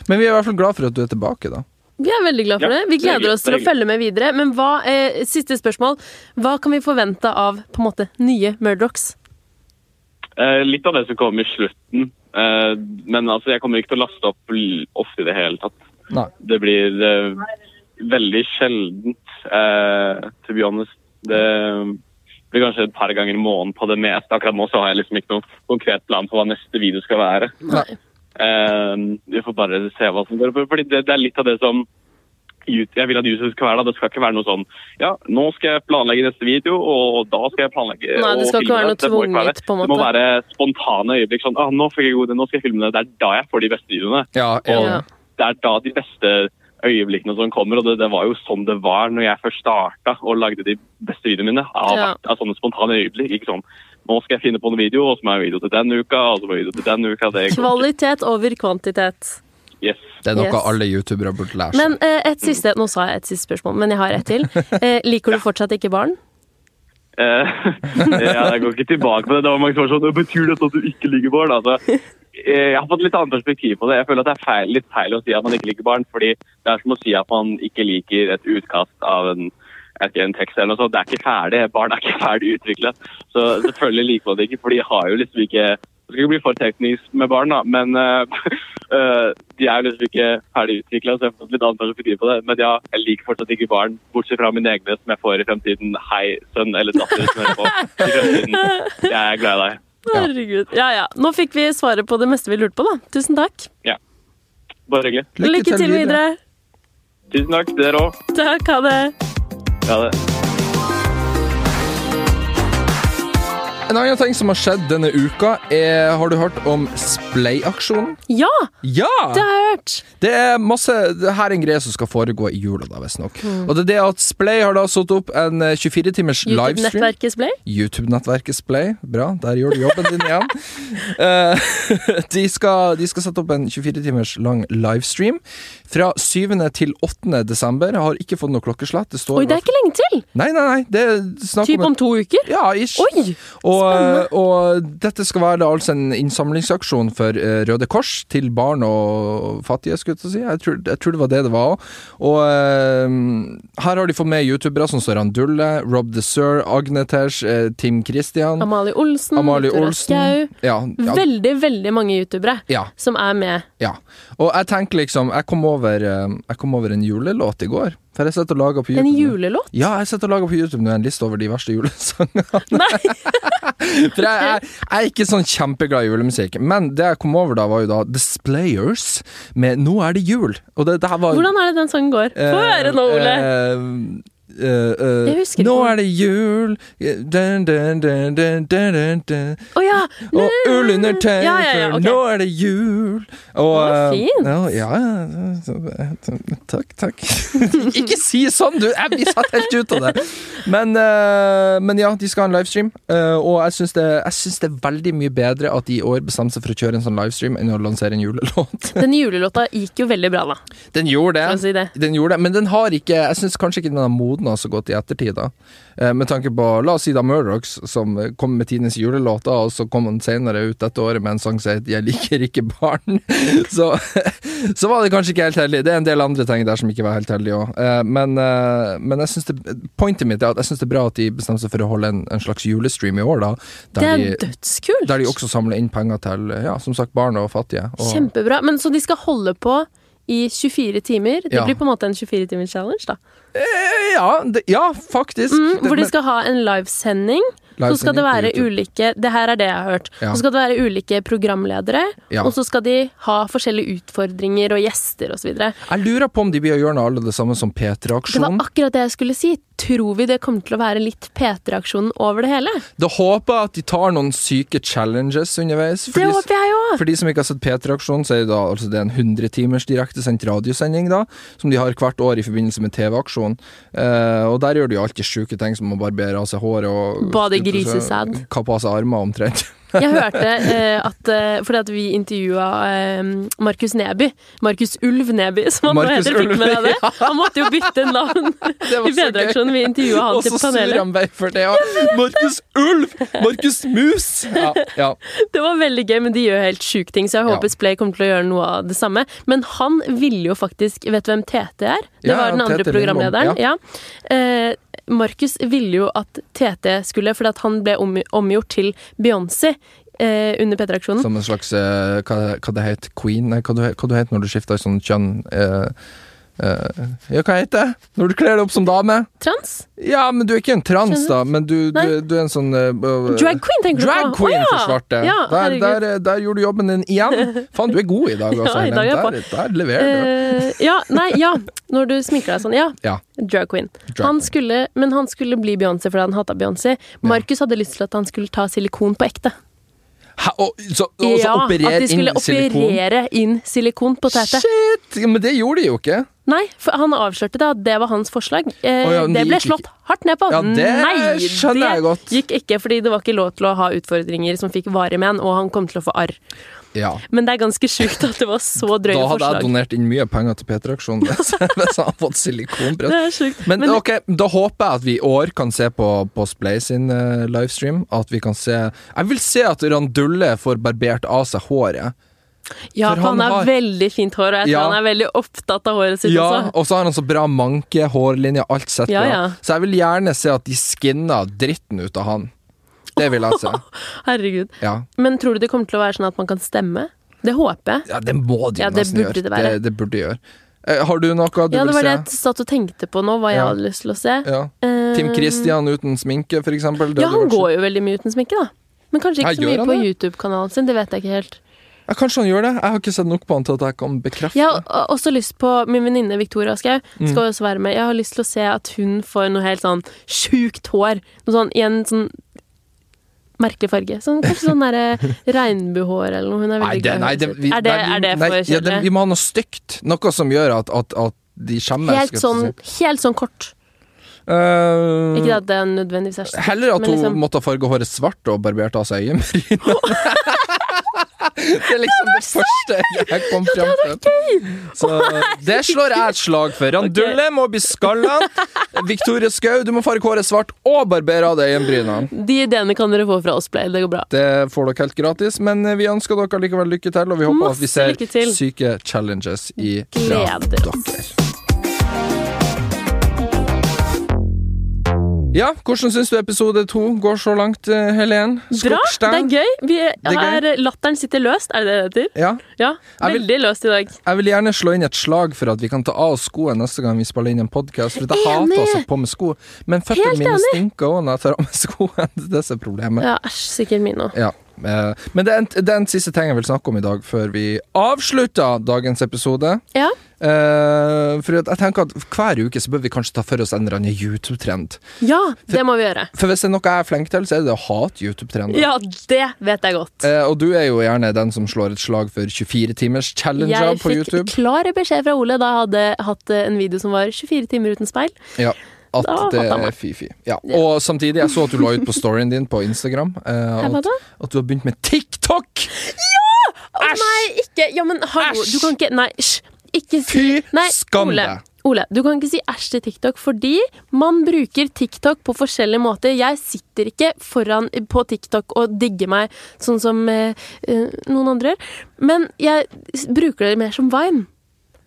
[SPEAKER 2] Men vi er i hvert fall glad for at du er tilbake, da.
[SPEAKER 1] Vi er veldig glad for
[SPEAKER 3] Ja,
[SPEAKER 1] det. Vi
[SPEAKER 3] det er
[SPEAKER 1] gleder
[SPEAKER 3] hyggelig,
[SPEAKER 1] oss til å
[SPEAKER 3] det er
[SPEAKER 1] følge med videre. Men hva, eh, siste spørsmål. Hva kan vi forvente av på en måte nye Murdochs?
[SPEAKER 3] Eh, litt av det som kom i slutten. eh, men altså, jeg kommer ikke til å laste opp l- ofte i det hele tatt.
[SPEAKER 2] Nei.
[SPEAKER 3] Det blir eh, veldig sjeldent, eh, to be honest. Det blir kanskje et par ganger i måneden på det meste. Akkurat nå så har jeg liksom ikke noen konkret plan for hva neste video skal være.
[SPEAKER 2] Nei.
[SPEAKER 3] Eh, vi får bare se hva som går opp. Fordi det, det er litt av det som YouTube- jeg vil at YouTube skal være da. Det skal ikke være noe sånn Ja, nå skal jeg planlegge neste video, og da skal jeg planlegge
[SPEAKER 1] Nei, det
[SPEAKER 3] og
[SPEAKER 1] skal ikke
[SPEAKER 3] filme
[SPEAKER 1] være noe
[SPEAKER 3] Det må ikke være
[SPEAKER 1] tvunget,
[SPEAKER 3] det.
[SPEAKER 1] på en
[SPEAKER 3] Det må
[SPEAKER 1] måte.
[SPEAKER 3] være spontane øyeblikk. Sånn ah, 'Nå fikk jeg god idé, nå skal jeg filme det.' Det er da jeg får de beste videoene
[SPEAKER 2] Ja,
[SPEAKER 3] Og
[SPEAKER 2] enig.
[SPEAKER 3] det er da de beste øyeblikkene som kommer, og det, det var jo sånn det var når jeg først starta og lagde de beste videoene mine. Av,
[SPEAKER 1] Ja.
[SPEAKER 3] av sånne spontane øyeblikk. Ikke sånn nå skal jeg finne på en video, og så må jeg ha video til den uka, og så må jeg ha video til den uka. Det går ikke.
[SPEAKER 1] Kvalitet over kvantitet.
[SPEAKER 3] Yes.
[SPEAKER 2] Det er noe
[SPEAKER 1] Yes.
[SPEAKER 2] alle youtubere burde lære seg.
[SPEAKER 1] Men eh, et siste Nå sa jeg et siste spørsmål, men jeg har et til. Eh, liker du fortsatt ikke barn?
[SPEAKER 3] Eh, ja, jeg går ikke tilbake på det. Det var mange som var sånn «Hva Betyr dette at du ikke liker barn? Altså, eh, jeg har fått litt annet perspektiv på det. Jeg føler at det er feil, litt feil å si at man ikke liker barn, fordi det er som å si at man ikke liker et utkast av en jeg vet ikke, en tekst eller noe sånt. Det er ikke ferdig. Barn er ikke ferdig utviklet. Så selvfølgelig liker man det ikke, for de har jo liksom ikke Det skal ikke bli for teknisk med barn, da, men eh, eh, de er jo liksom ikke ferdig utvikla, så jeg har fått litt annet perspektiv på det. Men ja, jeg liker fortsatt ikke barn, bortsett fra mine egne som jeg får i fremtiden. Hei, sønn eller datter. som hører på i fremtiden. Jeg er glad i deg.
[SPEAKER 1] Herregud. Ja ja. Nå fikk vi svaret på det meste vi lurte på, da. Tusen takk.
[SPEAKER 3] Bare hyggelig.
[SPEAKER 1] Lykke, til videre.
[SPEAKER 3] Tusen takk, dere òg.
[SPEAKER 1] Takk, ha det.
[SPEAKER 3] Ha det.
[SPEAKER 2] En annen ting som har skjedd denne uka, er Har du hørt om Splay-aksjonen?
[SPEAKER 1] Ja,
[SPEAKER 2] Ja!
[SPEAKER 1] det har jeg hørt.
[SPEAKER 2] Det er masse det her er en greie som skal foregå i jula, da, visstnok.
[SPEAKER 3] Hmm.
[SPEAKER 2] Og det er det at Splay har da satt opp en eh, 24-timers livestream.
[SPEAKER 1] YouTube-nettverket Splay.
[SPEAKER 2] YouTube-nettverket Splay. Bra, der gjør du jobben din igjen. Eh, de, skal, de skal sette opp en 24 timers lang livestream fra 7. til 8. desember. Jeg har ikke fått noe klokkeslett. Det står
[SPEAKER 1] Oi,
[SPEAKER 2] i
[SPEAKER 1] det er
[SPEAKER 2] hvert
[SPEAKER 1] ikke lenge til.
[SPEAKER 2] fall- Nei, nei, nei. Det er snakk
[SPEAKER 1] Typ
[SPEAKER 2] om
[SPEAKER 1] om
[SPEAKER 2] et
[SPEAKER 1] to uker.
[SPEAKER 2] ja, ish.
[SPEAKER 1] Oi!
[SPEAKER 2] Og, eh, og dette skal være da altså en innsamlingsaksjon for eh, Røde Kors til barn og fattige, skulle jeg til å si. Jeg tror, jeg tror det var det det var òg. Og eh, her har de fått med youtubere som Randulle, Rob Desir, Agnetesh, eh, Tim Christian,
[SPEAKER 1] Amalie Olsen.
[SPEAKER 2] Amalie
[SPEAKER 1] Victoria
[SPEAKER 2] Olsen. Ja, ja,
[SPEAKER 1] Veldig, veldig mange youtubere
[SPEAKER 2] ja,
[SPEAKER 1] som er med.
[SPEAKER 2] ja. Og jeg tenker liksom Jeg kom over, eh, jeg kom over en julelåt i går, For jeg sitter og lager på
[SPEAKER 1] En
[SPEAKER 2] YouTube. nå.
[SPEAKER 1] julelåt?
[SPEAKER 2] Ja, jeg sitter og lager på YouTube nå en liste over de verste julesangene.
[SPEAKER 1] Nei!
[SPEAKER 2] For jeg, jeg, jeg er ikke sånn kjempeglad i julemusikk. Men det jeg kom over da, var jo da Displayers med 'Nå er det jul'. Og det, det her var
[SPEAKER 1] Hvordan er det den sangen går? Få høre nå, Ole.
[SPEAKER 2] Eh, eh, eh,
[SPEAKER 1] Jeg husker
[SPEAKER 2] Nå
[SPEAKER 1] ikke.
[SPEAKER 2] er det jul eh, dun, dun, dun, dun, dun, dun, dun.
[SPEAKER 1] Å ja!
[SPEAKER 2] Og ull under tøyet,
[SPEAKER 1] Ja, ja, ja,
[SPEAKER 2] for
[SPEAKER 1] ok.
[SPEAKER 2] nå er det jul. Og,
[SPEAKER 1] Å,
[SPEAKER 2] eh,
[SPEAKER 1] fint.
[SPEAKER 2] Ja, ja, ja, takk, takk. Ikke si sånn, du! Jeg blir satt helt ut av det. Men, eh, men ja, de skal ha en livestream, eh, og jeg syns det, jeg synes det er veldig mye bedre at de i år bestemmer seg for å kjøre en sånn livestream enn å lansere en julelåt.
[SPEAKER 1] Den julelåta gikk jo veldig bra, da.
[SPEAKER 2] Den gjorde
[SPEAKER 1] For å
[SPEAKER 2] det.
[SPEAKER 1] si det.
[SPEAKER 2] Den gjorde det, men den har ikke Jeg syns kanskje ikke den har modna så godt i ettertid, da. Eh, med tanke på La oss si da Murdochs, som eh, kom med tidenes julelåter, og så kom han senere ut dette året med en sang som het 'Jeg liker ikke barn'. så, så var det kanskje ikke helt heldig. Det er en del andre ting der som ikke var helt heldige òg. Eh, men, eh, men jeg synes det pointet mitt er at jeg syns det er bra at de bestemmer seg for å holde en, en slags julestream i år, da. Der,
[SPEAKER 1] Det er
[SPEAKER 2] de,
[SPEAKER 1] dødskult!
[SPEAKER 2] der de også samler inn penger til, eh, ja, som sagt, barn og fattige. Og,
[SPEAKER 1] Kjempebra. Men så de skal holde på i 24 timer? Det
[SPEAKER 2] Ja.
[SPEAKER 1] blir på en måte en 24-timers challenge, da.
[SPEAKER 2] ja, det, ja, faktisk.
[SPEAKER 1] Mm,
[SPEAKER 2] Det-
[SPEAKER 1] hvor de
[SPEAKER 2] men-
[SPEAKER 1] skal ha en livesending. Så skal det
[SPEAKER 2] Livesending på
[SPEAKER 1] være
[SPEAKER 2] YouTube.
[SPEAKER 1] ulike Det her er det jeg har hørt.
[SPEAKER 2] Ja.
[SPEAKER 1] Så skal det være ulike programledere,
[SPEAKER 2] Ja.
[SPEAKER 1] og så skal de ha forskjellige utfordringer og gjester osv. Det
[SPEAKER 2] Jeg lurer på om de blir å gjøre noe alle det samme som
[SPEAKER 1] var
[SPEAKER 2] P3-aksjonen.
[SPEAKER 1] akkurat det jeg skulle si. Tror vi det kommer til å være litt P3-aksjon over det hele?
[SPEAKER 2] Da håper jeg at de tar noen syke challenges underveis. For,
[SPEAKER 1] Det
[SPEAKER 2] de,
[SPEAKER 1] håper jeg òg!
[SPEAKER 2] for de som ikke har sett P3-aksjonen, så er det, da, altså det er en 100 timers direktesendt radiosending da, som de har hvert år i forbindelse med TV-aksjonen. Eh, og der gjør de jo alltid syke ting som å barbere av seg håret og
[SPEAKER 1] Bade i grisesæd.
[SPEAKER 2] Kappe av seg armer omtrent.
[SPEAKER 1] Jeg hørte eh, at eh, Fordi at vi intervjua eh, Markus Neby. Markus Ulv Neby, som han nå
[SPEAKER 2] Markus
[SPEAKER 1] heter. Fikk
[SPEAKER 2] Ulv,
[SPEAKER 1] med deg det? Han måtte jo bytte navn
[SPEAKER 2] Det var
[SPEAKER 1] i
[SPEAKER 2] så gøy.
[SPEAKER 1] P3-aksjonen. Vi intervjua han
[SPEAKER 2] Og så
[SPEAKER 1] til
[SPEAKER 2] snur
[SPEAKER 1] panelet.
[SPEAKER 2] han vei for det, ja. Markus Ulv! Markus Mus! Ja, ja.
[SPEAKER 1] Det var veldig gøy, men de gjør helt sjuke ting, så jeg
[SPEAKER 2] Ja.
[SPEAKER 1] håper Splay kommer til å gjøre noe av det samme. Men han ville jo faktisk Vet du hvem Tete er? Det
[SPEAKER 2] Ja,
[SPEAKER 1] var den
[SPEAKER 2] ja,
[SPEAKER 1] andre
[SPEAKER 2] Tete Lindbom,
[SPEAKER 1] programlederen. Ja. Eh, Markus ville jo at Tete skulle, fordi at han ble om, omgjort til Beyoncé eh, under P3-aksjonen.
[SPEAKER 2] Som en slags eh, hva, hva det heter Queen? Nei, hva du, hva du heter når du skifter sånn kjønn? eh, eh, ja, hva heter det? Når du kler deg opp som dame?
[SPEAKER 1] Trans?
[SPEAKER 2] Ja, men du er ikke en trans, da, men du, du,
[SPEAKER 1] Nei.
[SPEAKER 2] du er en sånn eh, eh,
[SPEAKER 1] Drag queen, tenker du på?
[SPEAKER 2] Drag
[SPEAKER 1] Å,
[SPEAKER 2] queen
[SPEAKER 1] ja.
[SPEAKER 2] for svarte.
[SPEAKER 1] Ja,
[SPEAKER 2] der,
[SPEAKER 1] herregud.
[SPEAKER 2] der, eh, der gjorde du jobben din igjen. Faen, du er god i dag, altså.
[SPEAKER 1] Ja, i dag er jeg
[SPEAKER 2] Helen. der, der leverer du.
[SPEAKER 1] Eh, ja, nei, ja. Når du sminker deg sånn, ja.
[SPEAKER 2] Ja.
[SPEAKER 1] Drag queen.
[SPEAKER 2] Drag
[SPEAKER 1] han
[SPEAKER 2] queen.
[SPEAKER 1] skulle, men han skulle bli Beyoncé fordi han hata Beyoncé. Markus hadde lyst til at han skulle ta silikon på ekte.
[SPEAKER 2] Hæ, og så, og så
[SPEAKER 1] ja,
[SPEAKER 2] operer
[SPEAKER 1] At de skulle
[SPEAKER 2] inn silikon.
[SPEAKER 1] operere inn silikon på tete.
[SPEAKER 2] Shit! Men det gjorde de jo ikke.
[SPEAKER 1] Nei, for han avslørte det, at det var hans forslag. Eh,
[SPEAKER 2] Å ja, men
[SPEAKER 1] det
[SPEAKER 2] det
[SPEAKER 1] ble
[SPEAKER 2] gikk
[SPEAKER 1] slått hardt ned på.
[SPEAKER 2] Ja, det
[SPEAKER 1] Nei,
[SPEAKER 2] skjønner jeg godt.
[SPEAKER 1] Det gikk ikke, fordi det var ikke lov til å ha utfordringer som fikk varige menn, og han kom til å få arr.
[SPEAKER 2] Ja.
[SPEAKER 1] Men det er ganske sjukt at det var så
[SPEAKER 2] Da
[SPEAKER 1] drøye
[SPEAKER 2] hadde jeg
[SPEAKER 1] forslag.
[SPEAKER 2] donert inn mye penger til P3-aksjonen hvis jeg hadde fått silikonbrett.
[SPEAKER 1] Det er sjukt.
[SPEAKER 2] Men, ok, da håper jeg at vi i år kan se på, på Splay sin eh, livestream. At vi kan se Jeg vil se at Randulle får barbert av seg håret.
[SPEAKER 1] Ja,
[SPEAKER 2] For
[SPEAKER 1] for han
[SPEAKER 2] han
[SPEAKER 1] har
[SPEAKER 2] har-
[SPEAKER 1] veldig fint hår, og jeg tror
[SPEAKER 2] Ja.
[SPEAKER 1] han er veldig opptatt av håret sitt
[SPEAKER 2] Ja,
[SPEAKER 1] også.
[SPEAKER 2] Og så har han så bra manke, hårlinje, alt sett
[SPEAKER 1] Ja,
[SPEAKER 2] bra.
[SPEAKER 1] ja.
[SPEAKER 2] Så jeg vil gjerne se at de skinner dritten ut av han. Det vil jeg se.
[SPEAKER 1] Herregud.
[SPEAKER 2] Ja,
[SPEAKER 1] Men tror du det kommer til å være sånn at man kan stemme? Det håper jeg.
[SPEAKER 2] ja det må de
[SPEAKER 1] Ja,
[SPEAKER 2] jo
[SPEAKER 1] det
[SPEAKER 2] nesten
[SPEAKER 1] burde
[SPEAKER 2] gjøre.
[SPEAKER 1] det være.
[SPEAKER 2] Det, det burde de gjøre. Eh, har du noe du
[SPEAKER 1] Ja, det
[SPEAKER 2] vil
[SPEAKER 1] var det
[SPEAKER 2] se?
[SPEAKER 1] jeg satt og tenkte på nå, hva jeg
[SPEAKER 2] Ja.
[SPEAKER 1] hadde lyst til å se.
[SPEAKER 2] Ja.
[SPEAKER 1] Eh,
[SPEAKER 2] Tim Christian uten sminke, for eksempel. Det
[SPEAKER 1] Ja,
[SPEAKER 2] hadde
[SPEAKER 1] han
[SPEAKER 2] vært
[SPEAKER 1] går jo veldig mye uten sminke, da. Men kanskje
[SPEAKER 2] Ja,
[SPEAKER 1] ikke så
[SPEAKER 2] gjør
[SPEAKER 1] mye
[SPEAKER 2] han
[SPEAKER 1] på
[SPEAKER 2] det?
[SPEAKER 1] YouTube-kanalen sin, det vet jeg ikke helt.
[SPEAKER 2] sjukt. ja, kanskje han gjør det? Jeg har ikke sett nok på han til at jeg kan bekrefte
[SPEAKER 1] Jeg har o- også lyst på Min venninne Victoria Skau
[SPEAKER 2] Mm.
[SPEAKER 1] skal også være med. Jeg har lyst til å se at hun får noe helt sånn sjukt hår. Noe sånn i en sånn merkelig farge. Sånn, kanskje sånn derre regnbuehår eller noe. Hun er
[SPEAKER 2] Nei,
[SPEAKER 1] veldig
[SPEAKER 2] det,
[SPEAKER 1] glad i
[SPEAKER 2] nei,
[SPEAKER 1] håret
[SPEAKER 2] det,
[SPEAKER 1] sitt.
[SPEAKER 2] vi,
[SPEAKER 1] Er det,
[SPEAKER 2] nei, vi-
[SPEAKER 1] er det
[SPEAKER 2] nei,
[SPEAKER 1] for
[SPEAKER 2] ja, det, Vi
[SPEAKER 1] kjedelig?
[SPEAKER 2] må ha noe stygt. Noe som gjør at, at, at de skjemmer.
[SPEAKER 1] Helt sånn, helt sånn kort.
[SPEAKER 2] Eh,
[SPEAKER 1] Ikke at det er nødvendigvis er sånn.
[SPEAKER 2] Heller at
[SPEAKER 1] men
[SPEAKER 2] hun
[SPEAKER 1] liksom-
[SPEAKER 2] måtte farge håret svart og barbert av seg øyenbrynene. det er liksom det første jeg kom fram til. Så det slår jeg et slag for. Randulle må bli skalla. Victoria Skau, du må farge håret svart og barbere av deg øyenbrynene.
[SPEAKER 1] De ideene kan dere få fra oss, Play. Det går bra.
[SPEAKER 2] Det får dere helt gratis, men eh, vi ønsker dere likevel lykke til, og vi håper at vi
[SPEAKER 1] Masse
[SPEAKER 2] ser
[SPEAKER 1] lykke til.
[SPEAKER 2] syke challenges i
[SPEAKER 1] Gleder
[SPEAKER 2] kraft
[SPEAKER 1] oss.
[SPEAKER 2] dere. Ja, hvordan syns du episode to går så langt, eh, Helen?
[SPEAKER 1] Bra! Det er
[SPEAKER 2] Skogstein?
[SPEAKER 1] gøy. Vi
[SPEAKER 2] er gøy.
[SPEAKER 1] er, latteren sitter løst, er det det det heter?
[SPEAKER 2] Ja.
[SPEAKER 1] Ja.
[SPEAKER 2] Jeg vil-
[SPEAKER 1] Veldig løst i dag.
[SPEAKER 2] Jeg vil gjerne slå inn et slag for at vi kan ta av oss skoene neste gang vi spiller inn en podkast, for jeg
[SPEAKER 1] Enig!
[SPEAKER 2] hater å sitte på med sko. Men føttene
[SPEAKER 1] Helt
[SPEAKER 2] mine
[SPEAKER 1] enig!
[SPEAKER 2] stinker òg når jeg tar av meg skoene. Det er det som er problemet.
[SPEAKER 1] Ja, æsj, sikkert min òg.
[SPEAKER 2] Ja. eh, Men det er, en, det er en siste ting jeg vil snakke om i dag, før vi avslutter dagens episode.
[SPEAKER 1] Ja.
[SPEAKER 2] Eh, for at jeg tenker at Hver uke så bør vi kanskje ta for oss en eller annen YouTube-trend.
[SPEAKER 1] ja, det må vi gjøre.
[SPEAKER 2] For hvis det er noe jeg er flink til, så er det å hate YouTube-trender.
[SPEAKER 1] Ja, det vet jeg godt.
[SPEAKER 2] Eh, og du er jo gjerne den som slår et slag for 24-timers-challenger
[SPEAKER 1] Jeg
[SPEAKER 2] på
[SPEAKER 1] fikk
[SPEAKER 2] YouTube.
[SPEAKER 1] klar beskjed fra Ole da jeg hadde hatt eh, en video som var 24 timer uten speil.
[SPEAKER 2] Ja, at
[SPEAKER 1] Da hater
[SPEAKER 2] det
[SPEAKER 1] jeg
[SPEAKER 2] er
[SPEAKER 1] meg.
[SPEAKER 2] fy-fy. Ja. Og samtidig, jeg så at du la ut på storyen din på Instagram eh,
[SPEAKER 1] hva
[SPEAKER 2] at,
[SPEAKER 1] da?
[SPEAKER 2] at du har begynt med TikTok!
[SPEAKER 1] Å, Nei, ikke Ja, men hallo,
[SPEAKER 2] Æsj!
[SPEAKER 1] du kan ikke Nei, hysj. Ikke si
[SPEAKER 2] Fy
[SPEAKER 1] nei,
[SPEAKER 2] skam
[SPEAKER 1] Ole.
[SPEAKER 2] deg!
[SPEAKER 1] Ole, du kan ikke si æsj til TikTok, fordi man bruker TikTok på forskjellige måter. Jeg sitter ikke foran på TikTok og digger meg sånn som eh, eh, noen andre gjør. Men jeg s- bruker det mer som Vine.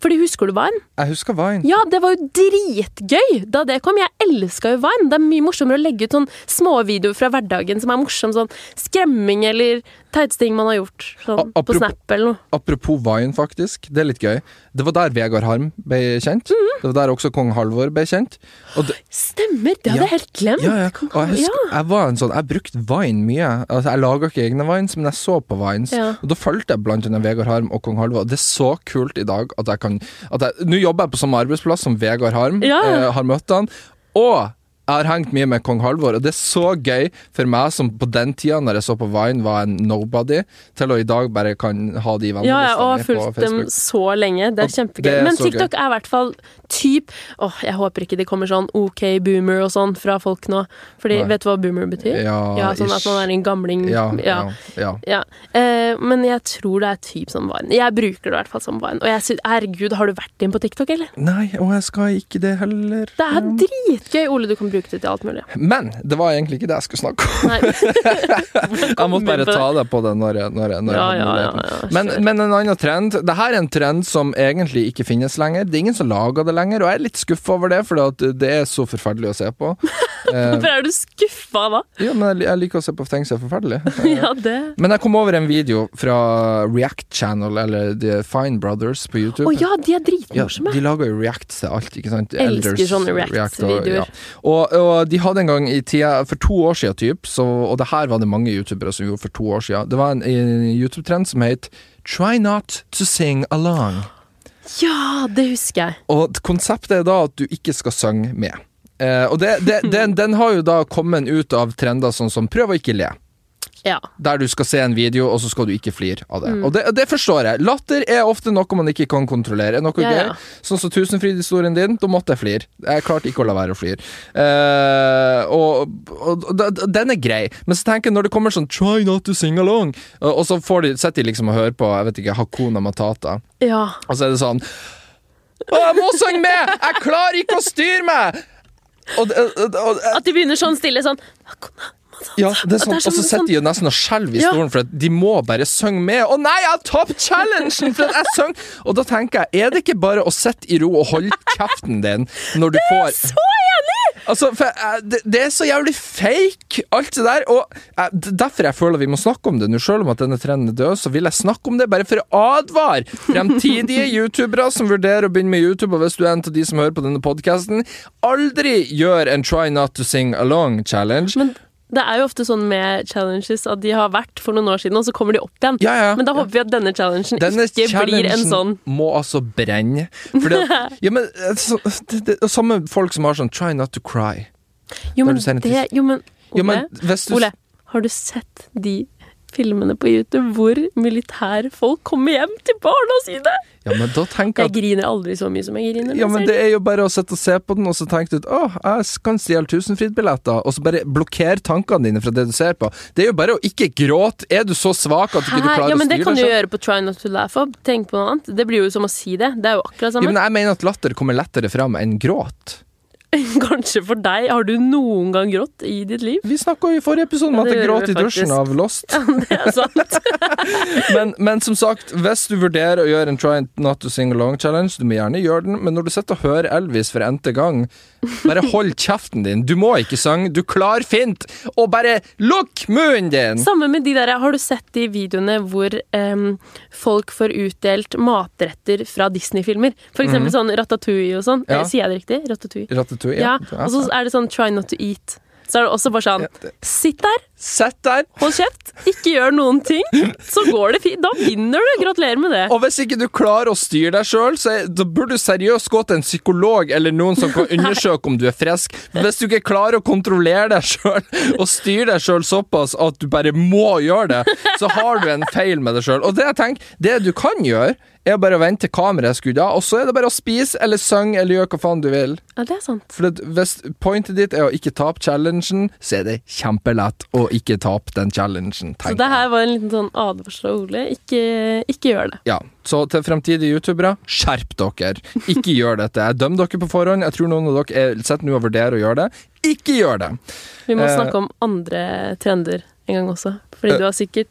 [SPEAKER 1] Fordi husker du Vine?
[SPEAKER 2] Jeg husker Vine.
[SPEAKER 1] Ja, det var jo dritgøy da det kom. Jeg elska jo Vine. Det er mye morsommere å legge ut sånn småvideoer fra hverdagen som er morsom, sånn skremming eller teiteste ting man har gjort
[SPEAKER 2] A-
[SPEAKER 1] sånn, på
[SPEAKER 2] apropos-
[SPEAKER 1] Snap eller noe.
[SPEAKER 2] Apropos Vine, faktisk. Det er litt gøy. Det var der Vegard Harm ble kjent.
[SPEAKER 1] Mhm.
[SPEAKER 2] Det var der også kong Halvor ble kjent. Og det,
[SPEAKER 1] Stemmer! Det hadde
[SPEAKER 2] Ja.
[SPEAKER 1] jeg helt glemt.
[SPEAKER 2] ja, ja. Og jeg, husker, jeg var en sånn Jeg brukte Vine mye. Altså, jeg laga ikke egne Vines, men jeg så på Vines.
[SPEAKER 1] Ja.
[SPEAKER 2] Og da fulgte jeg blant annet Vegard Harm og kong Halvor. Og det er så kult i dag at jeg kan at jeg, Nå jobber jeg på samme arbeidsplass som Vegard Harm.
[SPEAKER 1] Ja.
[SPEAKER 2] Eh, har møtt han. Og jeg har hengt mye med kong Halvor, og det er så gøy for meg som på den tida, når jeg så på Vine, var en nobody, til å i dag bare kan ha de
[SPEAKER 1] Ja, ja, og
[SPEAKER 2] vennelistene
[SPEAKER 1] har
[SPEAKER 2] mine på
[SPEAKER 1] fulgt dem
[SPEAKER 2] Facebook.
[SPEAKER 1] så lenge. Det
[SPEAKER 2] Og
[SPEAKER 1] er kjempegøy.
[SPEAKER 2] det er
[SPEAKER 1] Men
[SPEAKER 2] så gøy.
[SPEAKER 1] TikTok er i hvert fall typ Åh, jeg håper ikke det kommer sånn OK boomer og sånn fra folk nå. Fordi,
[SPEAKER 2] Nei.
[SPEAKER 1] vet du hva boomer betyr?
[SPEAKER 2] Ja,
[SPEAKER 1] Sånn at
[SPEAKER 2] ish.
[SPEAKER 1] man er en gamling.
[SPEAKER 2] Ja, ja,
[SPEAKER 1] ja.
[SPEAKER 2] ja.
[SPEAKER 1] Ja, eh, men jeg tror det er typ som Vine. Jeg bruker det i hvert fall som Vine. Og jeg synes, herregud, har du vært inn på TikTok, eller?
[SPEAKER 2] Nei, og jeg skal ikke det heller.
[SPEAKER 1] Det er dritgøy, Ole. Du kan bruke det til alt mulig.
[SPEAKER 2] Men det var egentlig ikke det jeg skulle snakke om.
[SPEAKER 1] Nei,
[SPEAKER 2] Jeg måtte bare
[SPEAKER 1] Kommer på
[SPEAKER 2] ta det på det når jeg, når jeg, når jeg
[SPEAKER 1] Ja,
[SPEAKER 2] hadde
[SPEAKER 1] ja, ja,
[SPEAKER 2] muligheten.
[SPEAKER 1] ja,
[SPEAKER 2] men,
[SPEAKER 1] kjør.
[SPEAKER 2] men en annen trend Dette er en trend som egentlig ikke finnes lenger. Det er ingen som lager det lenger, og jeg er litt skuffa over det, for det er så forferdelig å se på. Eh,
[SPEAKER 1] Hvorfor er du skuffa da?
[SPEAKER 2] Ja, men jeg, jeg liker å se på ting som er forferdelige.
[SPEAKER 1] Ja, det
[SPEAKER 2] Men jeg kom over en video fra React Channel, eller The Fine Brothers på YouTube.
[SPEAKER 1] Å ja, de er
[SPEAKER 2] Ja,
[SPEAKER 1] dritmorsomme.
[SPEAKER 2] de lager jo Reacts til alt, ikke sant?
[SPEAKER 1] Elsker sånne
[SPEAKER 2] og,
[SPEAKER 1] Reacts-videoer.
[SPEAKER 2] ja. og, og de hadde en gang i tida, for to år siden typ, så, og det her var det mange youtubere som gjorde for to år siden, det var en, en YouTube-trend som het Try not to sing along.
[SPEAKER 1] Ja, det husker jeg.
[SPEAKER 2] Og konseptet er da at du ikke skal synge med. Eh, og det, det, den, den har jo da kommet ut av trender sånn som prøv å ikke le.
[SPEAKER 1] Ja.
[SPEAKER 2] Der du skal se en video, og så skal du ikke flire av
[SPEAKER 1] Mm.
[SPEAKER 2] det. Og det, og det forstår jeg. Latter er ofte noe man ikke kan kontrollere. Er Noe
[SPEAKER 1] Ja, ja.
[SPEAKER 2] gøy. Sånn som Tusenfryd-historien din, da måtte jeg flire. Jeg klarte ikke å la være å flire. Eh, og, og, og d- d- den er grei, men så tenker jeg når det kommer sånn 'try not to sing along', og, og så får de, sitter de liksom og hører på jeg vet ikke, Hakuna Matata,
[SPEAKER 1] Ja.
[SPEAKER 2] og så er det sånn 'Å, jeg må synge med! Jeg klarer ikke å styre meg!' Og, det- og, og,
[SPEAKER 1] At de begynner sånn stille sånn Hakuna Matata.
[SPEAKER 2] ja, det er
[SPEAKER 1] At
[SPEAKER 2] sånn, og så sitter de jo nesten og skjelver i
[SPEAKER 1] Ja.
[SPEAKER 2] stolen, for at de må bare synge med. Å nei, jeg har tapt challengen! For at jeg sang Og da tenker jeg, er det ikke bare å sitte i ro og holde kjeften din når du får
[SPEAKER 1] Så enig!
[SPEAKER 2] Altså, for jeg, det, det er så jævlig fake, alt det der. Og jeg, d- derfor jeg føler vi må snakke om det nå. Selv om at denne trenden er død, så vil jeg snakke om det bare for å advare fremtidige youtubere som vurderer å begynne med YouTube. Og hvis du er en av de som hører på denne podkasten, aldri gjør en Try Not To Sing Along-challenge.
[SPEAKER 1] Men det er jo ofte sånn med challenges at de har vært for noen år siden, og så kommer de opp igjen.
[SPEAKER 2] Ja, ja.
[SPEAKER 1] Men da håper vi at denne challengen
[SPEAKER 2] Denne
[SPEAKER 1] ikke blir en sånn
[SPEAKER 2] må altså brenne. Fordi at, ja, men, eh, så, det, det, og samme folk som har sånn 'try not to cry'.
[SPEAKER 1] Jo,
[SPEAKER 2] Der
[SPEAKER 1] men
[SPEAKER 2] du ser en
[SPEAKER 1] det Jo, men Ole,
[SPEAKER 2] Jo, men hvis du,
[SPEAKER 1] Ole har du sett de filmene på YouTube hvor militærfolk kommer hjem til barna sine?
[SPEAKER 2] ja, men da tenker
[SPEAKER 1] Jeg
[SPEAKER 2] jeg at
[SPEAKER 1] griner aldri så mye som jeg griner. når
[SPEAKER 2] ja,
[SPEAKER 1] jeg
[SPEAKER 2] men
[SPEAKER 1] ser
[SPEAKER 2] Det er jo bare å sitte og se på den og så tenke ut 'Å, jeg kan stjele Tusenfryd-billetter', og så bare blokkere tankene dine fra det du ser på. Det er jo bare å ikke gråte. Er du så svak at du ikke
[SPEAKER 1] Hæ?
[SPEAKER 2] klarer
[SPEAKER 1] ja, men
[SPEAKER 2] å
[SPEAKER 1] Det
[SPEAKER 2] styre
[SPEAKER 1] kan du
[SPEAKER 2] deg? selv?
[SPEAKER 1] gjøre på Try Not To Laugh Up. Tenk på noe annet. Det blir jo som å si det. Det er jo akkurat
[SPEAKER 2] Ja,
[SPEAKER 1] samme.
[SPEAKER 2] men jeg mener at latter kommer lettere fram enn gråt.
[SPEAKER 1] Kanskje for deg. Har du noen gang grått i ditt liv?
[SPEAKER 2] Vi snakka i forrige episode om
[SPEAKER 1] Ja,
[SPEAKER 2] at
[SPEAKER 1] det gjorde
[SPEAKER 2] jeg gråt
[SPEAKER 1] vi
[SPEAKER 2] i dusjen
[SPEAKER 1] faktisk.
[SPEAKER 2] av Lost.
[SPEAKER 1] Det er altså
[SPEAKER 2] Mm.
[SPEAKER 1] sant.
[SPEAKER 2] Men, men som sagt, hvis du vurderer å gjøre en Try Not To Sing Along Challenge, du må gjerne gjøre den, men når du sitter og hører Elvis for n-te gang, bare hold kjeften din. Du må ikke synge, du klarer fint! Og bare lukk munnen din!
[SPEAKER 1] Samme med de der, Har du sett de videoene hvor em, folk får utdelt matretter fra Disney-filmer? For eksempel sånn Ratatouille og sånn.
[SPEAKER 2] Mhm. Ja.
[SPEAKER 1] Eh, Sier jeg det riktig? Ratatouille.
[SPEAKER 2] Ratatouille.
[SPEAKER 1] Ja,
[SPEAKER 2] Ja.
[SPEAKER 1] Og så er det sånn Try not to eat. Så er det også bare sånn Sitt der,
[SPEAKER 2] Sett der,
[SPEAKER 1] hold kjeft, ikke gjør noen ting, så går det fint. Da vinner du! Gratulerer med det.
[SPEAKER 2] og hvis ikke du klarer å styre deg sjøl, så er- da burde du seriøst gå til en psykolog eller noen som kan undersøke om du er frisk. Hvis du ikke klarer å kontrollere deg sjøl og styre deg sjøl såpass at du bare må gjøre det, så har du en feil med deg sjøl. Og det jeg tenker, det du kan gjøre, er bare å vente til kameraet skrur av, og så er det bare å spise eller synge eller gjøre hva faen du vil.
[SPEAKER 1] Ja, det er sant.
[SPEAKER 2] For at hvis pointet ditt er å ikke tape challengen, så er det kjempelett å ikke tape den challengen.
[SPEAKER 1] Så
[SPEAKER 2] tenker
[SPEAKER 1] det her var en liten sånn advarsel av Ole. Ikke, ikke gjør det.
[SPEAKER 2] Ja, så til fremtidige youtubere, skjerp dere. Ikke gjør dette. Jeg dømmer dere på forhånd. Jeg tror noen av dere er- sitter nå og vurderer å gjøre det. Ikke gjør det!
[SPEAKER 1] Vi må
[SPEAKER 2] Eh,
[SPEAKER 1] snakke om andre trender en gang også. Fordi du har sikkert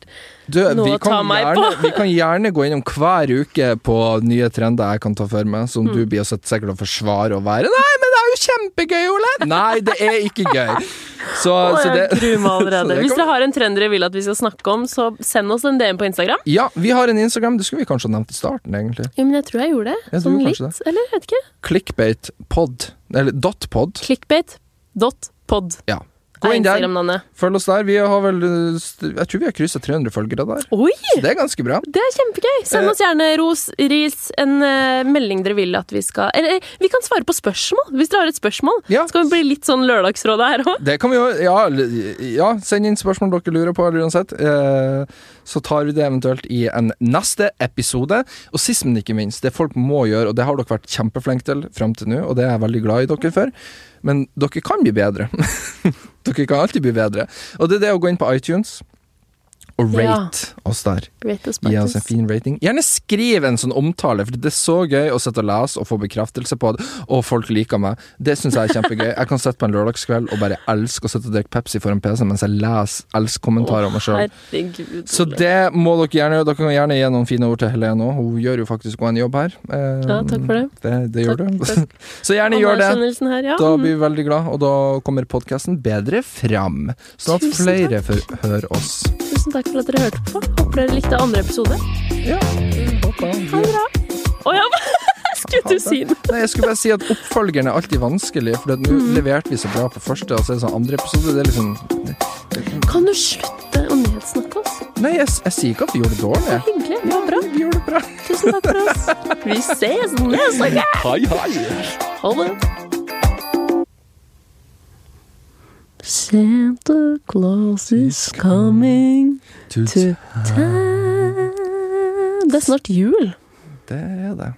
[SPEAKER 2] Du,
[SPEAKER 1] Noe
[SPEAKER 2] vi,
[SPEAKER 1] å ta
[SPEAKER 2] kan
[SPEAKER 1] meg
[SPEAKER 2] gjerne, vi kan gjerne gå innom hver uke på nye trender jeg kan ta for meg,
[SPEAKER 1] Mm.
[SPEAKER 2] som du blir sitt sikkert å forsvare og være Nei, men det er jo kjempegøy, Ole! Nei, det er ikke gøy. Så,
[SPEAKER 1] Å,
[SPEAKER 2] så
[SPEAKER 1] jeg
[SPEAKER 2] altså, det
[SPEAKER 1] gruer meg
[SPEAKER 2] så
[SPEAKER 1] allerede.
[SPEAKER 2] det
[SPEAKER 1] Hvis
[SPEAKER 2] kan-
[SPEAKER 1] dere har en trend dere vil at vi skal snakke om, så send oss en DM på Instagram.
[SPEAKER 2] Ja, vi har en Instagram. Det skulle vi kanskje ha nevnt i starten, egentlig.
[SPEAKER 1] Jo, men jeg tror jeg gjorde det.
[SPEAKER 2] Ja, du
[SPEAKER 1] sånn
[SPEAKER 2] gjorde
[SPEAKER 1] litt.
[SPEAKER 2] kanskje
[SPEAKER 1] Eller jeg vet ikke.
[SPEAKER 2] Clickbate-pod. Eller dotpod.
[SPEAKER 1] Clickbait.pod
[SPEAKER 2] Ja. Gå
[SPEAKER 1] er
[SPEAKER 2] inn der.
[SPEAKER 1] Instagram-navnet.
[SPEAKER 2] Følg oss der. Vi har vel uh, st- Jeg tror vi har kryssa 300 følgere der.
[SPEAKER 1] Oi!
[SPEAKER 2] Så det er ganske bra.
[SPEAKER 1] Det er kjempegøy!
[SPEAKER 2] Eh.
[SPEAKER 1] Send oss gjerne ros, ris, en eh, melding dere vil at vi skal Eller eh, vi kan svare på spørsmål! Hvis dere har et spørsmål.
[SPEAKER 2] Ja.
[SPEAKER 1] Skal vi bli litt sånn Lørdagsrådet her òg?
[SPEAKER 2] Det kan vi jo Ja, l- ja send inn spørsmål dere lurer på, eller uansett. Eh, så tar vi det eventuelt i en neste episode. Og sist, men ikke minst, det folk må gjøre, og det har dere vært kjempeflinke til fram til nå, og det er jeg veldig glad i dere for, men dere kan bli bedre. dere kan alltid bli bedre. Og det er det å gå inn på iTunes og
[SPEAKER 1] Ja.
[SPEAKER 2] rate oss der. Gi oss en fin rating. Gjerne skriv en sånn omtale, for det er så gøy å sitte og lese og få bekreftelse på at å, folk liker meg. Det syns jeg er kjempegøy. Jeg kan sitte på en lørdagskveld og bare elske å sitte og drikke Pepsi foran PC-en mens jeg leser elsk-kommentarer om meg sjøl.
[SPEAKER 1] Herregud.
[SPEAKER 2] Så
[SPEAKER 1] Ole.
[SPEAKER 2] det må dere gjerne gjøre. Dere kan gjerne gi noen fine ord til Helene òg. Hun gjør jo faktisk også en jobb her. Eh,
[SPEAKER 1] Ja, takk for det.
[SPEAKER 2] Det, det gjør
[SPEAKER 1] Takk,
[SPEAKER 2] du. Så gjerne gjør det.
[SPEAKER 1] Anerkjennelsen Her, ja.
[SPEAKER 2] Da blir vi veldig glad, og da kommer podkasten bedre fram. Sånn at
[SPEAKER 1] Tusen
[SPEAKER 2] flere får høre oss.
[SPEAKER 1] Mm. Tusen takk for at dere hørte på. Håper dere likte andre episode.
[SPEAKER 2] Ja, håper vi-
[SPEAKER 1] Ha det bra. Å ja, skulle du si noe?
[SPEAKER 2] Nei, jeg skulle bare si at oppfølgeren er alltid vanskelig, for at nå leverte vi så bra på første, og så er det sånn andre episode. Det er liksom
[SPEAKER 1] Kan du slutte å nyhetssnakke oss?
[SPEAKER 2] Nei, jeg, jeg sier ikke at vi gjorde det dårlig.
[SPEAKER 1] Hyggelig. Det var bra.
[SPEAKER 2] Vi gjorde det bra.
[SPEAKER 1] Tusen takk for oss. Vi ses neste gang.
[SPEAKER 2] Hei, hei.
[SPEAKER 1] Ha det. Santa Claus is coming to town. Det er snart jul.
[SPEAKER 2] Det er det.